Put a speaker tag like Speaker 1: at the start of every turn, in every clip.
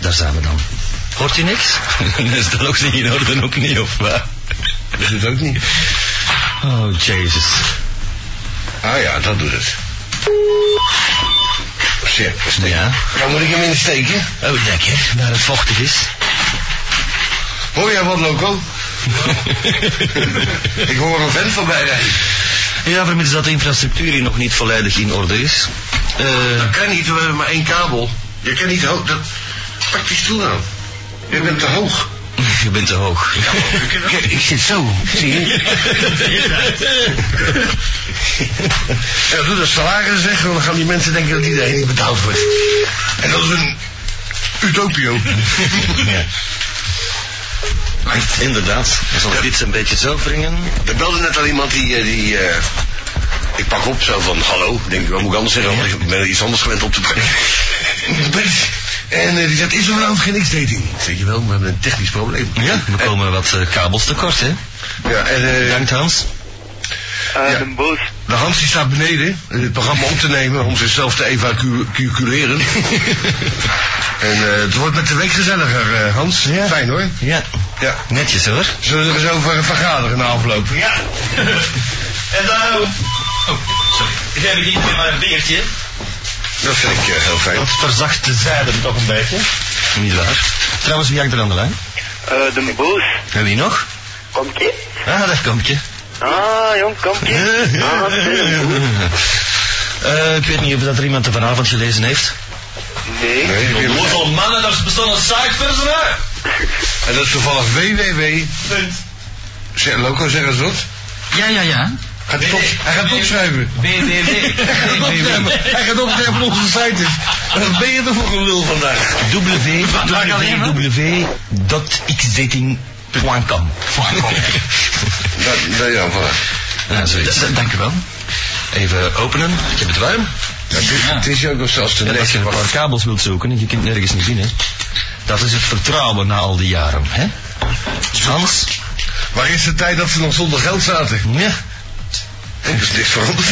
Speaker 1: daar zijn we dan.
Speaker 2: Hoort u niks?
Speaker 1: is dat ook niet in orde, ook niet, of wat?
Speaker 2: Dat doet ook niet.
Speaker 1: Oh, Jesus.
Speaker 2: Ah ja, dat doet het. Shit, steek.
Speaker 1: Ja?
Speaker 2: Dan moet ik hem insteken.
Speaker 1: Oh, lekker, waar het vochtig is.
Speaker 2: Hoor jij Oh wat, Loco? ik hoor een vent voorbij rijden.
Speaker 1: Ja, vermits dat de infrastructuur hier nog niet volledig in orde is. Eh,
Speaker 2: Dat kan niet, we hebben maar één kabel. Je kan niet hoog. Dat... Pak die stoel aan. Je bent te hoog.
Speaker 1: je bent te hoog.
Speaker 2: Kijk, ik zit zo. Zie je? Ja, doe dat salaris weg, want dan gaan die mensen denken dat iedereen niet betaald wordt. En dat is een utopio.
Speaker 1: ja. Inderdaad. Zal ik dit een beetje zo brengen?
Speaker 2: Er belde net al iemand die... eh, die eh, ik pak op zo van, hallo. Ik Denk, wat moet ik anders zeggen? Want ik ben iets anders gewend op te brengen. En eh, die zegt, is er vanavond geen X-dating? Ik Zeg je wel, we hebben een technisch probleem.
Speaker 1: Ja, we komen wat eh, kabels tekort, hè?
Speaker 2: Ja, en eh,
Speaker 1: Bedankt, Hans.
Speaker 3: Eh,
Speaker 2: Ja.
Speaker 3: De boos.
Speaker 2: de Hans die staat beneden eh, het programma op te nemen om zichzelf te evacueren. en eh, het wordt met de week gezelliger, eh, Hans.
Speaker 1: Ja.
Speaker 2: Fijn hoor.
Speaker 1: Ja,
Speaker 2: Ja.
Speaker 1: netjes hoor.
Speaker 2: Zullen we er eens over vergaderen na afloop?
Speaker 1: Ja. en daarom... Oh, sorry. Ik heb hier maar een beertje.
Speaker 2: Dat vind ik eh, heel fijn.
Speaker 1: verzacht de zijde toch een beetje. Niet waar. Trouwens, wie hangt er aan de lijn?
Speaker 3: Eh, de boos.
Speaker 1: En wie nog?
Speaker 3: Komt ie?
Speaker 1: Ah, daar komt je.
Speaker 3: Ah, jong, komt ie? Ah, wat is het?
Speaker 1: Eh, ik weet niet of dat er iemand er vanavond gelezen heeft.
Speaker 3: Nee.
Speaker 2: Nee, ik heb-
Speaker 1: mannen, dat bestond een siteperson, hè?
Speaker 2: en dat is toevallig www. Zeg, Loco, zeg eens wat.
Speaker 4: Ja, ja, ja.
Speaker 2: Gaat hij, op, hij gaat het opschrijven. Hij gaat het opschrijven.
Speaker 1: www.
Speaker 2: Hij gaat het opschrijven op onze site. is. Wat ben je er voor gelul vandaag?
Speaker 1: www.xdating.com
Speaker 2: Dat, dat ja, voilà.
Speaker 1: Ja, zoiets.
Speaker 4: Dank u wel.
Speaker 1: Even openen. Ik heb het warm.
Speaker 2: Ja, het, is, het is ook nog zelfs te
Speaker 1: En als je een paar kabels wilt zoeken, je kunt nergens niet vinden. Dat is het vertrouwen na al die jaren, hè? Hans?
Speaker 2: Waar is de tijd dat ze nog zonder geld zaten?
Speaker 1: Ja.
Speaker 2: Er is niks veranderd.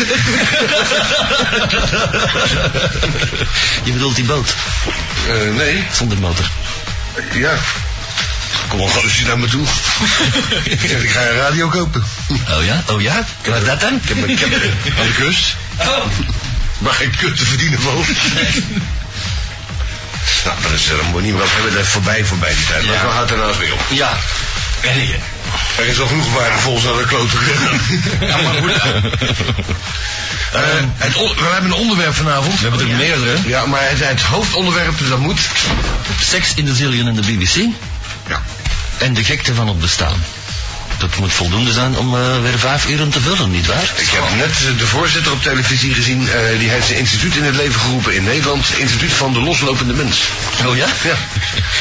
Speaker 1: Je bedoelt die boot,
Speaker 2: Eh, nee,
Speaker 1: zonder motor.
Speaker 2: ja. Kom al eens naar me toe. ik zeg, ik ga een radio kopen.
Speaker 1: Oh ja? Oh ja? Wat dat dan? Oh.
Speaker 2: Ik heb, ik heb aan de kust. Maar geen kut te verdienen voor. nou, dat is er een manier. We hebben dat voorbij, voorbij die tijd. Maar
Speaker 1: Ja.
Speaker 2: zo gaat er nou eens weer op.
Speaker 1: Ja. En hier.
Speaker 2: Er is al genoeg waarde volgens naar de klote gegaan. ja, maar goed. Eh, het on- we hebben een onderwerp vanavond.
Speaker 1: We hebben er meerdere.
Speaker 2: Ja, maar het, het hoofdonderwerp, dus dat moet.
Speaker 1: Seks in de Zillion en de BBC.
Speaker 2: Ja.
Speaker 1: En de gekte van het bestaan. Dat moet voldoende zijn om eh, weer vijf uren te vullen, nietwaar?
Speaker 2: Ik heb net eh, de voorzitter op televisie gezien. eh, die heeft zijn instituut in het leven geroepen in Nederland. Instituut van de loslopende mens.
Speaker 1: Oh ja?
Speaker 2: Ja.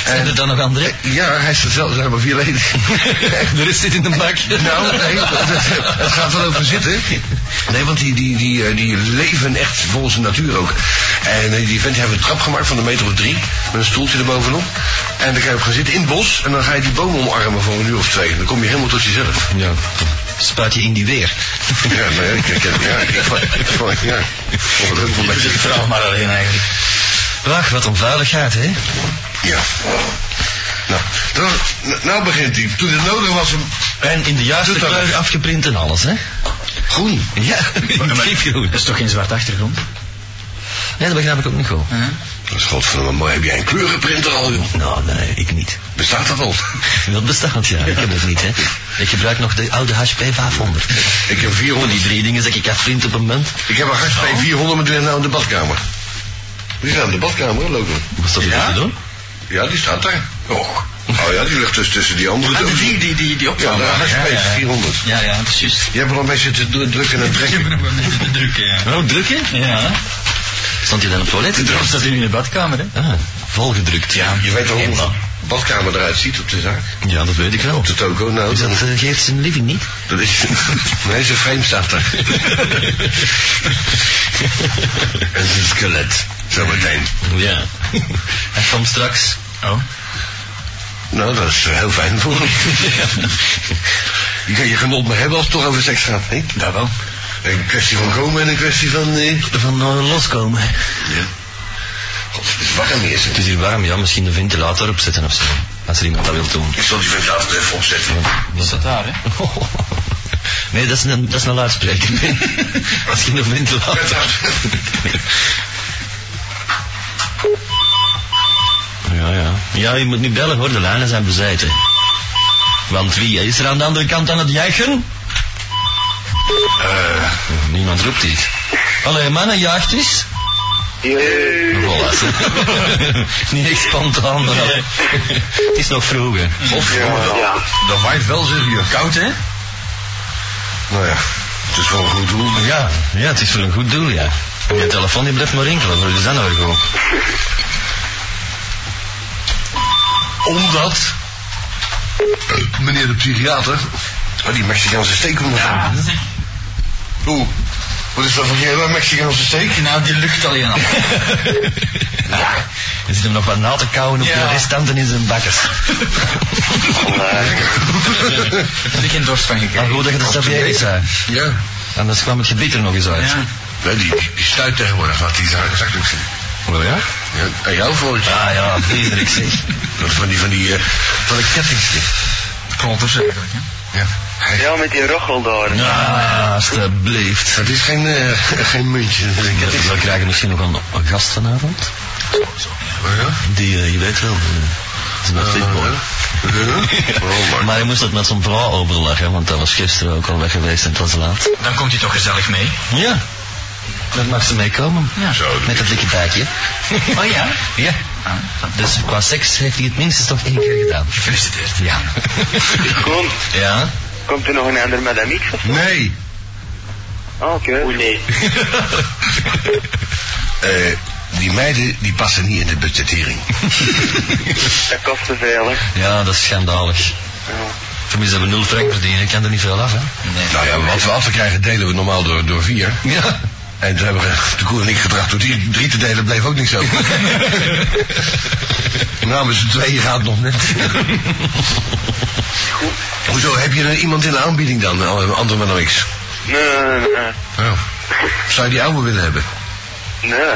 Speaker 2: Eh,
Speaker 1: Zijn er dan nog andere?
Speaker 2: Ja, hij is er zelf. Er zijn maar vier leden.
Speaker 1: de rest zit in de bak.
Speaker 2: Nou, nee, het, het gaat wel over zitten. Nee, want die, die, die, eh, die leven echt volgens de natuur ook. En eh, die vent die heeft een trap gemaakt van een meter of drie. Met een stoeltje erbovenop. En dan kan je op gaan zitten in het bos. En dan ga je die boom omarmen voor een uur of twee. Dan kom je helemaal tot jezelf.
Speaker 1: Ja. Spuit je in die weer.
Speaker 2: Ja, maar ja, ik ik- ja, ik- ik- ja. Ik vond het ook wel een beetje-
Speaker 1: maar alleen eigenlijk. Wacht, wat een vuiligheid, hè?
Speaker 2: Ja. Nou, dan, n- nou begint hij. Toen het nodig was, hem
Speaker 1: En in de juiste
Speaker 2: Doet dat
Speaker 1: kleur
Speaker 2: maar.
Speaker 1: afgeprint en alles, hè?
Speaker 2: groen.
Speaker 1: Ja, diepgroen.
Speaker 4: Dat is toch geen zwart achtergrond?
Speaker 1: Nee, dat begrijp ik ook niet goed.
Speaker 4: Huh?
Speaker 2: Dat is godverdomme mooi. Heb jij een kleurenprinter al, joh?
Speaker 1: Nou, nee, ik niet.
Speaker 2: Bestaat dat al?
Speaker 1: Dat bestaat, ja. Ik heb het niet, hè. Ik gebruik nog de oude HP 500.
Speaker 2: Ik heb
Speaker 1: Van
Speaker 2: 400.
Speaker 1: die drie dingen zeg ik afprint op een munt.
Speaker 2: Ik heb een HP 400, maar die is nou in de badkamer. Die staat in de badkamer, lopen.
Speaker 1: Was dat
Speaker 4: Ja?
Speaker 1: ja? te doen?
Speaker 2: Ja, die staat daar. Oh, oh ja, die ligt dus tussen die andere
Speaker 4: Ah,
Speaker 2: dozen.
Speaker 4: die, die, die, die
Speaker 2: Ja,
Speaker 4: opname.
Speaker 2: de HP 400.
Speaker 4: Ja, ja, precies.
Speaker 2: Je hebt er al mee zitten dru- drukken en
Speaker 4: Ik heb
Speaker 2: trekken.
Speaker 4: er nog wel mee te drukken, ja.
Speaker 1: Nou, druk, hè?
Speaker 4: Ja.
Speaker 1: Stond je dan op het toilet?
Speaker 4: Dat staat nu in de badkamer, hè?
Speaker 1: Ah, volgedrukt. Ja,
Speaker 2: Je weet wel hoe de badkamer eruit ziet op de zaak.
Speaker 1: Ja, dat weet ik wel.
Speaker 2: Op de toko, nou.
Speaker 1: Is dat
Speaker 2: dan-
Speaker 1: eh, geeft zijn living niet?
Speaker 2: Dat is... Nee, zijn frame staat er. en zijn skelet. Zo meteen.
Speaker 1: Ja. Hij kwam straks.
Speaker 4: Oh.
Speaker 2: Nou, dat is eh, heel fijn voor hem. Je kan je genot maar hebben als het toch over seks gaat, hè?
Speaker 4: Dat wel.
Speaker 2: Een kwestie van komen en een kwestie van... eh,
Speaker 1: Van eh, loskomen.
Speaker 2: Ja. God, het is waar. warm is. hè.
Speaker 1: Het is hier warm, ja, misschien de ventilator opzetten of zo. Als er iemand dat wil doen.
Speaker 2: Ik zal die ventilator even opzetten.
Speaker 4: Is dat daar, hè?
Speaker 1: Nee, dat is een, dat is een luidspreker. Misschien een ventilator. Ja, ja. Ja, je moet nu bellen hoor, de lijnen zijn bezet. hè. Want wie is er aan de andere kant aan het jagen? Eh, niemand roept iets. Allee, mannen, jaagt eens.
Speaker 3: Jee.
Speaker 1: Voilà. Niet echt spontaan, maar allee. Het is nog vroeg, hè.
Speaker 2: Of ja,
Speaker 3: Ja.
Speaker 2: dat waait wel serieus.
Speaker 4: Koud, hè?
Speaker 2: Nou ja, het is wel een goed doel.
Speaker 1: Ja, ja, het is voor een goed doel, ja. En je telefoon die blijft maar rinkelen, wat is dat nou weer gewoon?
Speaker 2: Omdat meneer de psychiater. Oh, die Mexicaanse steek moet nog
Speaker 4: Ja.
Speaker 2: hebben. Oeh, wat is dat voor jij een Mexicaanse steek?
Speaker 4: Nou, die lucht alleen al.
Speaker 1: Je zit hem nog wat na te kouwen op
Speaker 4: Ja.
Speaker 1: de restanten in zijn bakkers.
Speaker 4: Daar heb ik geen dorst van
Speaker 1: Maar
Speaker 4: gekregen.
Speaker 1: goed dat je de stagiair zei.
Speaker 2: Ja.
Speaker 1: Anders kwam het gebied er nog eens uit.
Speaker 4: Ja.
Speaker 2: Nee, die, die, die stuit tegenwoordig wat die za- zakdoek zien.
Speaker 1: Oh ja?
Speaker 2: Ja, en jou voor het
Speaker 1: Ah ja, Frederik zeg.
Speaker 2: Van die, van die, eh, van de kettingstift.
Speaker 4: Klonters eigenlijk, hè?
Speaker 2: Ja. Hey,
Speaker 3: Ja, met die rochel daar.
Speaker 1: Ah, alsjeblieft.
Speaker 2: Het is geen, eh, geen muntje. Dat is een ketting.
Speaker 1: We krijgen misschien nog een, een gast vanavond.
Speaker 2: Oh, Ja.
Speaker 1: Die, eh, je weet wel, eh, is nog dit mooi.
Speaker 2: Ja. Oh, man.
Speaker 1: Maar hij moest het met zijn vrouw overleggen, want dat was gisteren ook al weg geweest en het was laat.
Speaker 4: Dan komt hij toch gezellig mee.
Speaker 1: Ja, dat mag ze meekomen.
Speaker 4: Ja.
Speaker 2: Zo.
Speaker 1: Met dat dikke buikje.
Speaker 4: Oh ja?
Speaker 1: Ja.
Speaker 4: Ah,
Speaker 1: Dus qua seks heeft hij het minstens nog één keer gedaan. Gefeliciteerd. Ja.
Speaker 3: Kom,
Speaker 1: Ja.
Speaker 3: komt er nog een ander Madame X of zo?
Speaker 2: Nee.
Speaker 3: Ah, Oké. Oei, nee.
Speaker 2: Eh, die meiden die passen niet in de budgettering.
Speaker 3: Dat kost te veel, hè.
Speaker 1: Ja, dat is schandalig.
Speaker 3: Ja.
Speaker 1: Tenminste, dat we nul frank verdienen, ik kan er niet veel af, hè?
Speaker 4: nee.
Speaker 2: Nou ja, wat we af te krijgen delen we normaal door, door vier.
Speaker 1: Ja.
Speaker 2: En toen hebben we de koer en ik gedrag door die drie te delen bleef ook niks over. Namens z'n tweeën gaat het nog net. Hoezo, heb je er iemand in de aanbieding dan, eh, Anton van X?
Speaker 3: Nee, nee, nee.
Speaker 2: Oh. Zou je die oude willen hebben?
Speaker 3: Nee.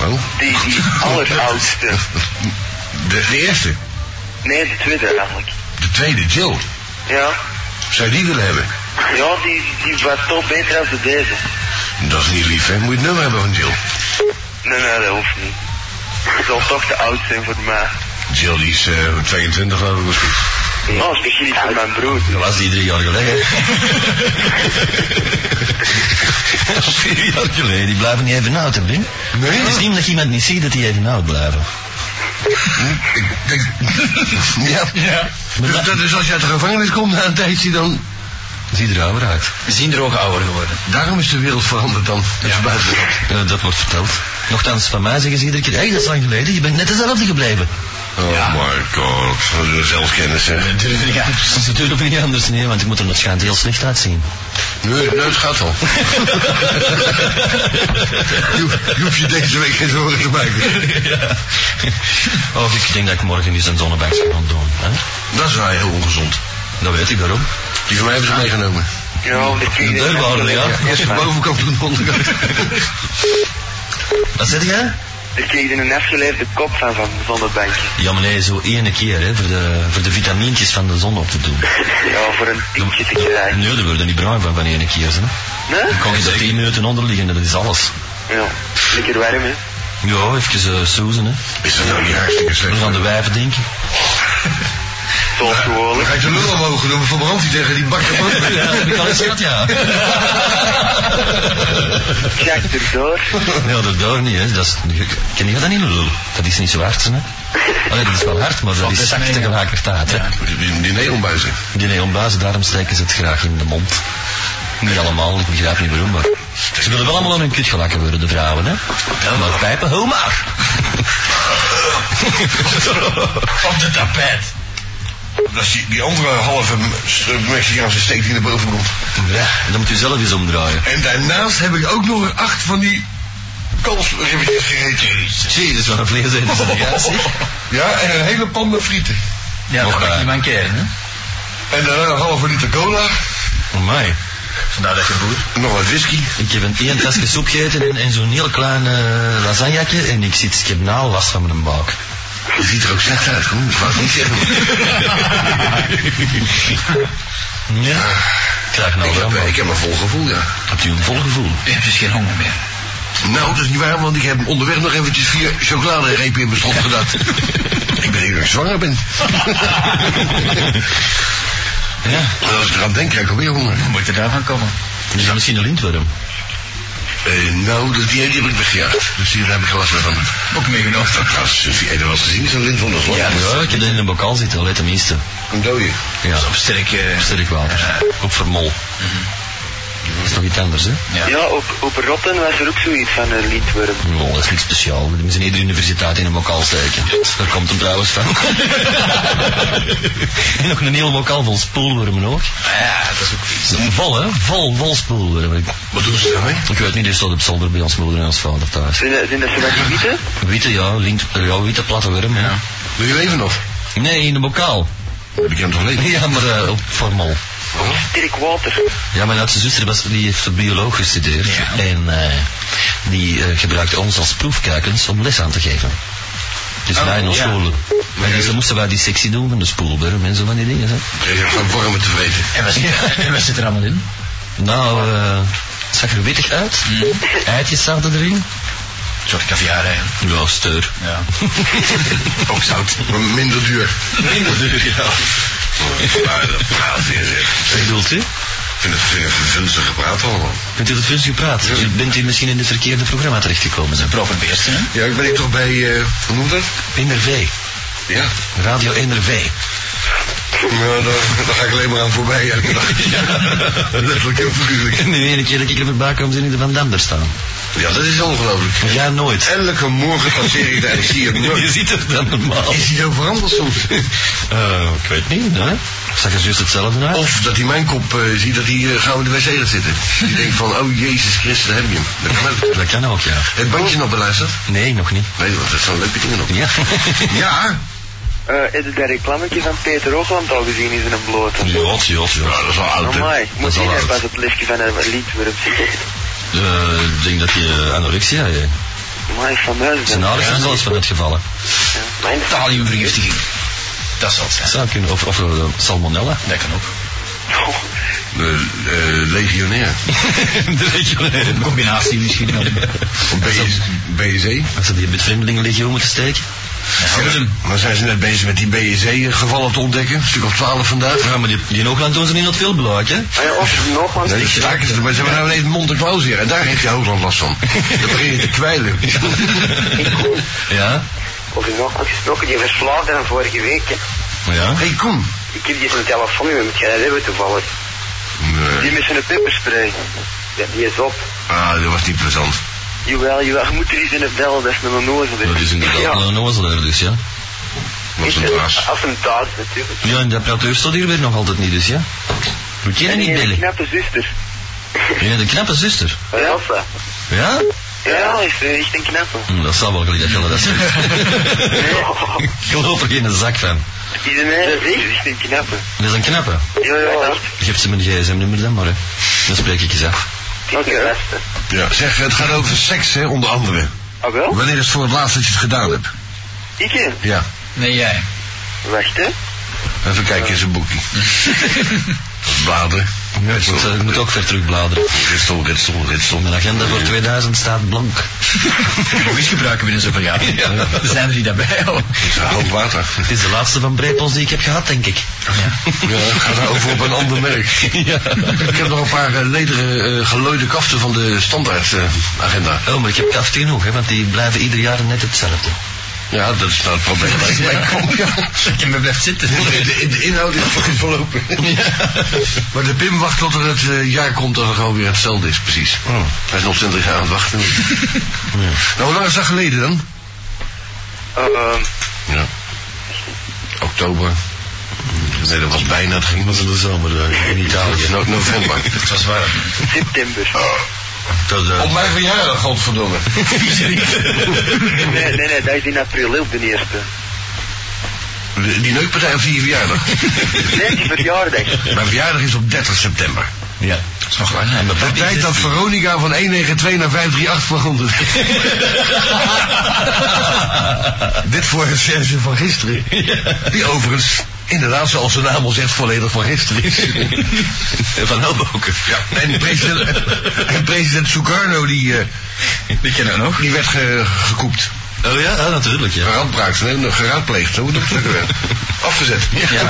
Speaker 2: Oh.
Speaker 3: Die, die alleroudste.
Speaker 2: De, de eerste,
Speaker 3: Nee, de tweede eigenlijk.
Speaker 2: de tweede, Jill.
Speaker 3: Ja.
Speaker 2: Zou je die willen hebben?
Speaker 3: Ja, die, die was toch beter als de deze.
Speaker 2: Dat is niet lief, hè? Moet je het nummer hebben van Jill?
Speaker 3: Nee, nee, dat hoeft niet. Het zal toch te oud zijn voor mij.
Speaker 2: Jill die is eh, 22 geloof ik misschien.
Speaker 3: Oh, het begin niet van mijn broer.
Speaker 1: Dat was die drie jaar geleden. Dat is vier jaar geleden. Die blijven niet even oud, hè, Wim?
Speaker 2: Nee?
Speaker 1: Het is niet omdat je iemand niet ziet dat die even oud blijven.
Speaker 2: Ik denk... ja.
Speaker 4: Ja.
Speaker 1: Maar
Speaker 2: Dus
Speaker 1: dat-
Speaker 2: dat is als je uit de gevangenis komt na een tijdje dan...
Speaker 1: Ziet er ouder uit.
Speaker 4: We zien er ook ouder geworden.
Speaker 2: Daarom is de wereld veranderd dan. Dat is buiten.
Speaker 1: Eh, dat wordt verteld. Nochtans, van mij zeggen ze iedere keer, hey, dat is lang geleden, je bent net dezelfde gebleven.
Speaker 2: Oh my god. Wat een zelfkennis hè. Nee,
Speaker 1: Ja, dat is natuurlijk niet anders, nee, want ik moet er waarschijnlijk heel slecht uitzien.
Speaker 2: nee, het gaat wel. je, hoeft- je hoeft je deze week geen zorgen te maken.
Speaker 1: ja. Of ik denk dat ik morgen eens een zonnebank zou gaan doen. Hè?
Speaker 2: Dat is wel heel ongezond.
Speaker 1: Dat weet ik daarom.
Speaker 2: Die van mij hebben ze meegenomen.
Speaker 3: Ja, de
Speaker 1: De
Speaker 3: tweede.
Speaker 1: deurwaarder, ja.
Speaker 2: Eerst de bovenkant van de onderkant.
Speaker 1: Wat zeg jij?
Speaker 3: Ik kreeg een afgeleefde kop van van de zonnebankje.
Speaker 1: Ja, maar nee, zo ene keer, hè, voor de, voor de vitamintjes van de zon op te doen.
Speaker 3: Ja, voor een tientje te krijgen.
Speaker 1: Nee, daar worden niet bruin van van ene keer, hè.
Speaker 3: Nee?
Speaker 1: Dan kan je er 10 minuten onder liggen, dat is alles.
Speaker 3: Ja. Lekker warm, hè.
Speaker 1: Ja, even eh soezen, hè.
Speaker 2: Is dat nou niet hartstikke
Speaker 1: Dan
Speaker 2: slecht?
Speaker 1: gaan de wijven denken.
Speaker 3: Zoals
Speaker 2: Dan
Speaker 3: gewoonlijk.
Speaker 2: ga ik de lul omhoog doen, verbrand die tegen die bakken van.
Speaker 1: heb ik al eens gehad, ja.
Speaker 3: Jack erdoor.
Speaker 1: Nee, dat door niet, hè. Dat is, ken je dat niet, lul? Dat is niet zo hard, hè. Allee, dat is wel hard, maar dat
Speaker 4: Valt
Speaker 1: is
Speaker 4: best
Speaker 1: zacht
Speaker 4: mee, ja.
Speaker 1: tegelijkertijd, hè.
Speaker 2: Die, die neonbuizen.
Speaker 1: Die neonbazen, daarom steken ze het graag in de mond. Niet allemaal, ik begrijp niet waarom, maar... Ze willen wel allemaal aan hun kut gelakken worden, de vrouwen, hè. maar pijpen, ho maar!
Speaker 4: Op de tapijt.
Speaker 2: Dat is die, die andere halve m- Mexicaanse steek die naar boven komt.
Speaker 1: Ja, dan moet je zelf eens omdraaien.
Speaker 2: En daarnaast heb ik ook nog acht van die koolsribbetjes gegeten.
Speaker 1: Jezus, wat een vleesetende delegatie.
Speaker 2: Ja, en een hele pan met frieten.
Speaker 4: Ja,
Speaker 1: Nog
Speaker 4: dat mag
Speaker 1: daar.
Speaker 4: niet mankeren, hè?
Speaker 2: En daarna een halve liter cola.
Speaker 1: Amai.
Speaker 4: Vandaar dat je boer.
Speaker 2: Nog wat whisky.
Speaker 1: Ik heb een één tasje soep gegeten en, en zo'n heel klein eh, lasagnetje. En ik zit, ik heb nou last van mijn buik.
Speaker 2: Je ziet er ook slecht uit, hoor. Ik wou het niet zeggen.
Speaker 1: Ja. Ik krijg nou
Speaker 2: Ik
Speaker 1: wel
Speaker 2: heb,
Speaker 1: een
Speaker 2: eh, ik
Speaker 1: buik.
Speaker 2: heb een vol gevoel, ja.
Speaker 1: Heb je een vol gevoel?
Speaker 4: Je hebt dus geen honger meer.
Speaker 2: Nou, dat is niet waar, want ik heb onderweg nog eventjes vier chocoladerepen in mijn strot gedaan. ik ben hier dat ik zwanger ben.
Speaker 1: Ja.
Speaker 2: En als ik eraan denk, krijg ik alweer honger.
Speaker 4: Hoe moet je daarvan komen?
Speaker 1: Dus dan misschien een lintworm.
Speaker 2: Eh, nou, dat- die, die heb ik weggejaagd. Dus die daar heb ik geen last meer van.
Speaker 4: Ook meegenomen.
Speaker 2: Dat was, eh, die ene was gezien, zo'n lint van de
Speaker 1: Ja, dus- ik heb dat in een bokaal zitten, alleen tenminste.
Speaker 2: Een dode.
Speaker 1: Ja,
Speaker 4: Op sterk. eh, Mhm.
Speaker 1: sterk water. Op vermol. Dat is toch iets anders, hè?
Speaker 4: Ja.
Speaker 3: Ja, op, op Rotten was er ook zoiets van een liedworm.
Speaker 1: Oh, dat is niks speciaal. We zijn iedere universiteit in een bokaal steken. Daar komt hem trouwens van. en nog een heel bokaal vol spoelwormen ook.
Speaker 4: Ah ja, dat is ook vies.
Speaker 1: Vol, hè? Vol, vol spoelwormen. Ik-
Speaker 2: Wat doen ze daarmee?
Speaker 1: Ik weet niet, dus die staat op zolder bij ons moeder en ons vader thuis.
Speaker 3: Zijn dat, zijn dat ze wat gebieden?
Speaker 1: Witte, ja, lint, ja witte platte worm, hè?
Speaker 2: Wil je leven nog?
Speaker 1: Nee, in een bokaal.
Speaker 2: Heb ik hem toch leven?
Speaker 1: Ja, maar eh, op formal.
Speaker 3: Sterk water.
Speaker 1: Ja, mijn oudste zuster was, die heeft bioloog gestudeerd.
Speaker 4: Ja.
Speaker 1: En eh, die eh, gebruikte ons als proefkuikens om les aan te geven. Dus
Speaker 4: Oh,
Speaker 1: wij in onze
Speaker 4: ja.
Speaker 1: scholen. En dus dan moesten wij die sectie doen van de spoelberm en zo van die dingen. Hè.
Speaker 2: Kreeg ik van wormen te weten.
Speaker 4: En wat, zit, en wat zit er allemaal in?
Speaker 1: Nou, eh, het zag er wittig uit. Eitjes zaten erin.
Speaker 4: Een soort caviar, hè.
Speaker 1: Ja, steur.
Speaker 4: Ja. ook zout.
Speaker 2: Maar minder duur.
Speaker 4: Minder duur, ja.
Speaker 2: Maar dat praat weer, zeg.
Speaker 1: Wat bedoelt u?
Speaker 2: Ik vind het vind het vervunzig gepraat allemaal.
Speaker 1: Bent u dat gunstig gepraat?
Speaker 2: Ja.
Speaker 1: U Bent u misschien in het verkeerde programma terechtgekomen? Zijn?
Speaker 4: Proper beesten, hè.
Speaker 2: Ja, ik ben hier toch bij, eh, hoe noemt dat?
Speaker 1: NRV.
Speaker 2: Ja.
Speaker 1: Radio NRV.
Speaker 2: Nou, daar, daar ga ik alleen maar aan voorbij elke dag. Letterlijk en figuurlijk.
Speaker 1: En de ene keer dat ik er voorbij kom, zijn in de Van Dam er staan.
Speaker 2: Ja, dat is ongelooflijk.
Speaker 1: Ja, nooit.
Speaker 2: Elke morgen passeer ik daar en ik zie hem
Speaker 1: Je
Speaker 2: nooit.
Speaker 1: ziet het dan normaal.
Speaker 2: Is hij zo veranderd soms?
Speaker 1: Eh, ik weet niet, hè? Zag er juist hetzelfde uit?
Speaker 4: Oh.
Speaker 2: Of dat hij mijn kop eh, ziet dat hij eh, gauw in de wc gaat zitten. Die denkt van, oh Jezus Christus, daar heb je hem. Dat kan ook.
Speaker 1: Dat kan ook, ja.
Speaker 2: Het bandje nog beluisterd?
Speaker 1: Nee, nog niet.
Speaker 2: Nee, want dat zijn leuke dingen nog.
Speaker 1: Ja.
Speaker 2: Ja,
Speaker 3: Eh heb je dat reclametje van Peter Hoogland al gezien in zijn blote?
Speaker 1: Jot, jot, jot.
Speaker 2: Ja, dat is wel oud, hè?
Speaker 3: Amai,
Speaker 1: Dat
Speaker 3: moet
Speaker 1: is
Speaker 3: je
Speaker 1: al
Speaker 3: net
Speaker 1: oud.
Speaker 3: pas op het lesje van een liedworm zitten.
Speaker 1: Eh, Ik denk dat je anorexia heeft.
Speaker 3: Amai, van huis
Speaker 1: Zijn
Speaker 3: dan.
Speaker 1: ouders zijn zelfs van het gevallen.
Speaker 3: Ja, mijn
Speaker 4: Taliumvergiftiging. Dat zal het zijn.
Speaker 1: Zou kunnen. Of, of eh, salmonella.
Speaker 4: Dat kan ook.
Speaker 3: Oh,
Speaker 2: eh, eh, legionair.
Speaker 1: De
Speaker 4: Een
Speaker 1: regionen.
Speaker 4: combinatie misschien wel.
Speaker 2: Of BS, BSE.
Speaker 1: Als ze die met vreemdelingenlegioen moeten steken.
Speaker 4: Houden.
Speaker 2: Dan zijn ze net bezig met die BSE-gevallen te ontdekken. Een stuk of twaalf vandaag.
Speaker 1: Ja, maar die, die in Hoogland doen ze niet dat veel bloot, hè?
Speaker 3: Ah ja, of nog maar.
Speaker 2: Nee, die staken ze, maar ze hebben nou even mond en klauw hier. En daar heeft je Hoogland last van. Dan begin je te kwijlen.
Speaker 1: Ja?
Speaker 3: Over nog wat gesproken, die verslaafde van vorige week. hè.
Speaker 1: Ja?
Speaker 2: Hé, hey, Koen.
Speaker 3: Ik heb die zijn telefoon niet meer, moet jij dat hebben toevallig. Die
Speaker 2: Nee.
Speaker 3: met zijn pepperspray. Ja, die is op.
Speaker 2: Ah, dat was niet plezant.
Speaker 3: Jawel, jawel, je moet er eens in het bellen, dat is een onnozel. hè.
Speaker 1: Dat is inderdaad
Speaker 3: dus. Ja,
Speaker 1: wel een ozelaar dus, ja.
Speaker 2: Was een baas.
Speaker 3: Als een taas natuurlijk.
Speaker 1: Ja, en de apparatuur staat hier weer nog altijd niet, dus ja. We kennen niet
Speaker 3: En die
Speaker 1: bellen.
Speaker 3: knappe zuster.
Speaker 1: Je bent een knappe zuster.
Speaker 3: Elsa.
Speaker 1: Ja?
Speaker 3: Ja, is eh, echt een knappe.
Speaker 1: Hm, dat zou wel gelijk dat je dat zegt.
Speaker 3: Nee,
Speaker 1: Ik geloof er geen zak van.
Speaker 3: die zijn eigen is echt een knappe.
Speaker 1: Dat is een knappe.
Speaker 3: Ja, ja, echt.
Speaker 1: Je hebt ze mijn gsm-nummer dan maar, hè. Dan spreek ik eens af.
Speaker 3: Die is de beste.
Speaker 2: Ja. Zeg, het gaat over seks, hè, onder andere.
Speaker 3: Ah wel?
Speaker 2: Wanneer is het voor het laatst dat je het gedaan hebt?
Speaker 3: Ik hè?
Speaker 2: Ja.
Speaker 4: Nee, jij.
Speaker 3: Wacht hè.
Speaker 2: Even kijken in zijn boekje. Bladeren.
Speaker 1: Ja, ik, moet, eh, ik moet ook ver terugbladeren.
Speaker 2: Ritsel, ritsel, ritsel.
Speaker 1: Mijn agenda voor 2000 staat blank.
Speaker 2: Oh,
Speaker 4: Whisky gebruiken binnen zo'n verjaardag. Er zijn er die daarbij al.
Speaker 2: Het is een hoop water.
Speaker 1: Het is de laatste van Brepels die ik heb gehad, denk ik.
Speaker 2: Ja, dat gaat over op een ander merk.
Speaker 1: Ja.
Speaker 2: Ik heb nog een paar eh, lederen eh, gelooide kaften van de standaard eh, agenda.
Speaker 1: Oh, maar ik heb kaft genoeg, hè, want die blijven ieder jaar net hetzelfde.
Speaker 2: Ja, dat is nou het probleem. waar ik mee kom, ja.
Speaker 4: Ik heb me blijft zitten.
Speaker 2: Nee, de, de inhoud is voor- voorlopig.
Speaker 1: Ja.
Speaker 2: Maar de Pim wacht tot er het eh, jaar komt dat er gewoon weer hetzelfde is, precies.
Speaker 1: Oh.
Speaker 2: Hij is nog 20 jaar aan het wachten. Nou, hoe lang is dat geleden dan?
Speaker 3: Ehm,
Speaker 2: Ja. Oktober. Nee, dat was bijna. Het ging was in de zomer eh, in Italië. No november.
Speaker 4: Het was warm.
Speaker 3: september.
Speaker 1: Dat, eh,
Speaker 2: Op mijn verjaardag, godverdomme.
Speaker 3: Nee, nee, nee, dat is in april, hè, op de eerste.
Speaker 2: Die neukpartij op je verjaardag.
Speaker 3: Nee, die verjaardag.
Speaker 2: Mijn verjaardag is op 30 september.
Speaker 1: Ja. dus-
Speaker 4: Dat is nog lang. hè.
Speaker 2: De tijd dat Veronica van 192 naar 538 veranderde. Dit voor het Serge van gisteren. Die overigens, inderdaad, zoals de naam al zegt, volledig van gisteren is.
Speaker 1: Van Helboken.
Speaker 2: Ja, en president, en president Sukarno, die, eh,
Speaker 4: Die kennen we nog.
Speaker 2: die werd ge, gekoept.
Speaker 1: Oh ja, ah, natuurlijk, ja.
Speaker 2: Gerandbraakt, nee, geraadpleegd, zo moet ik het zeggen. Afgezet.
Speaker 4: Ja.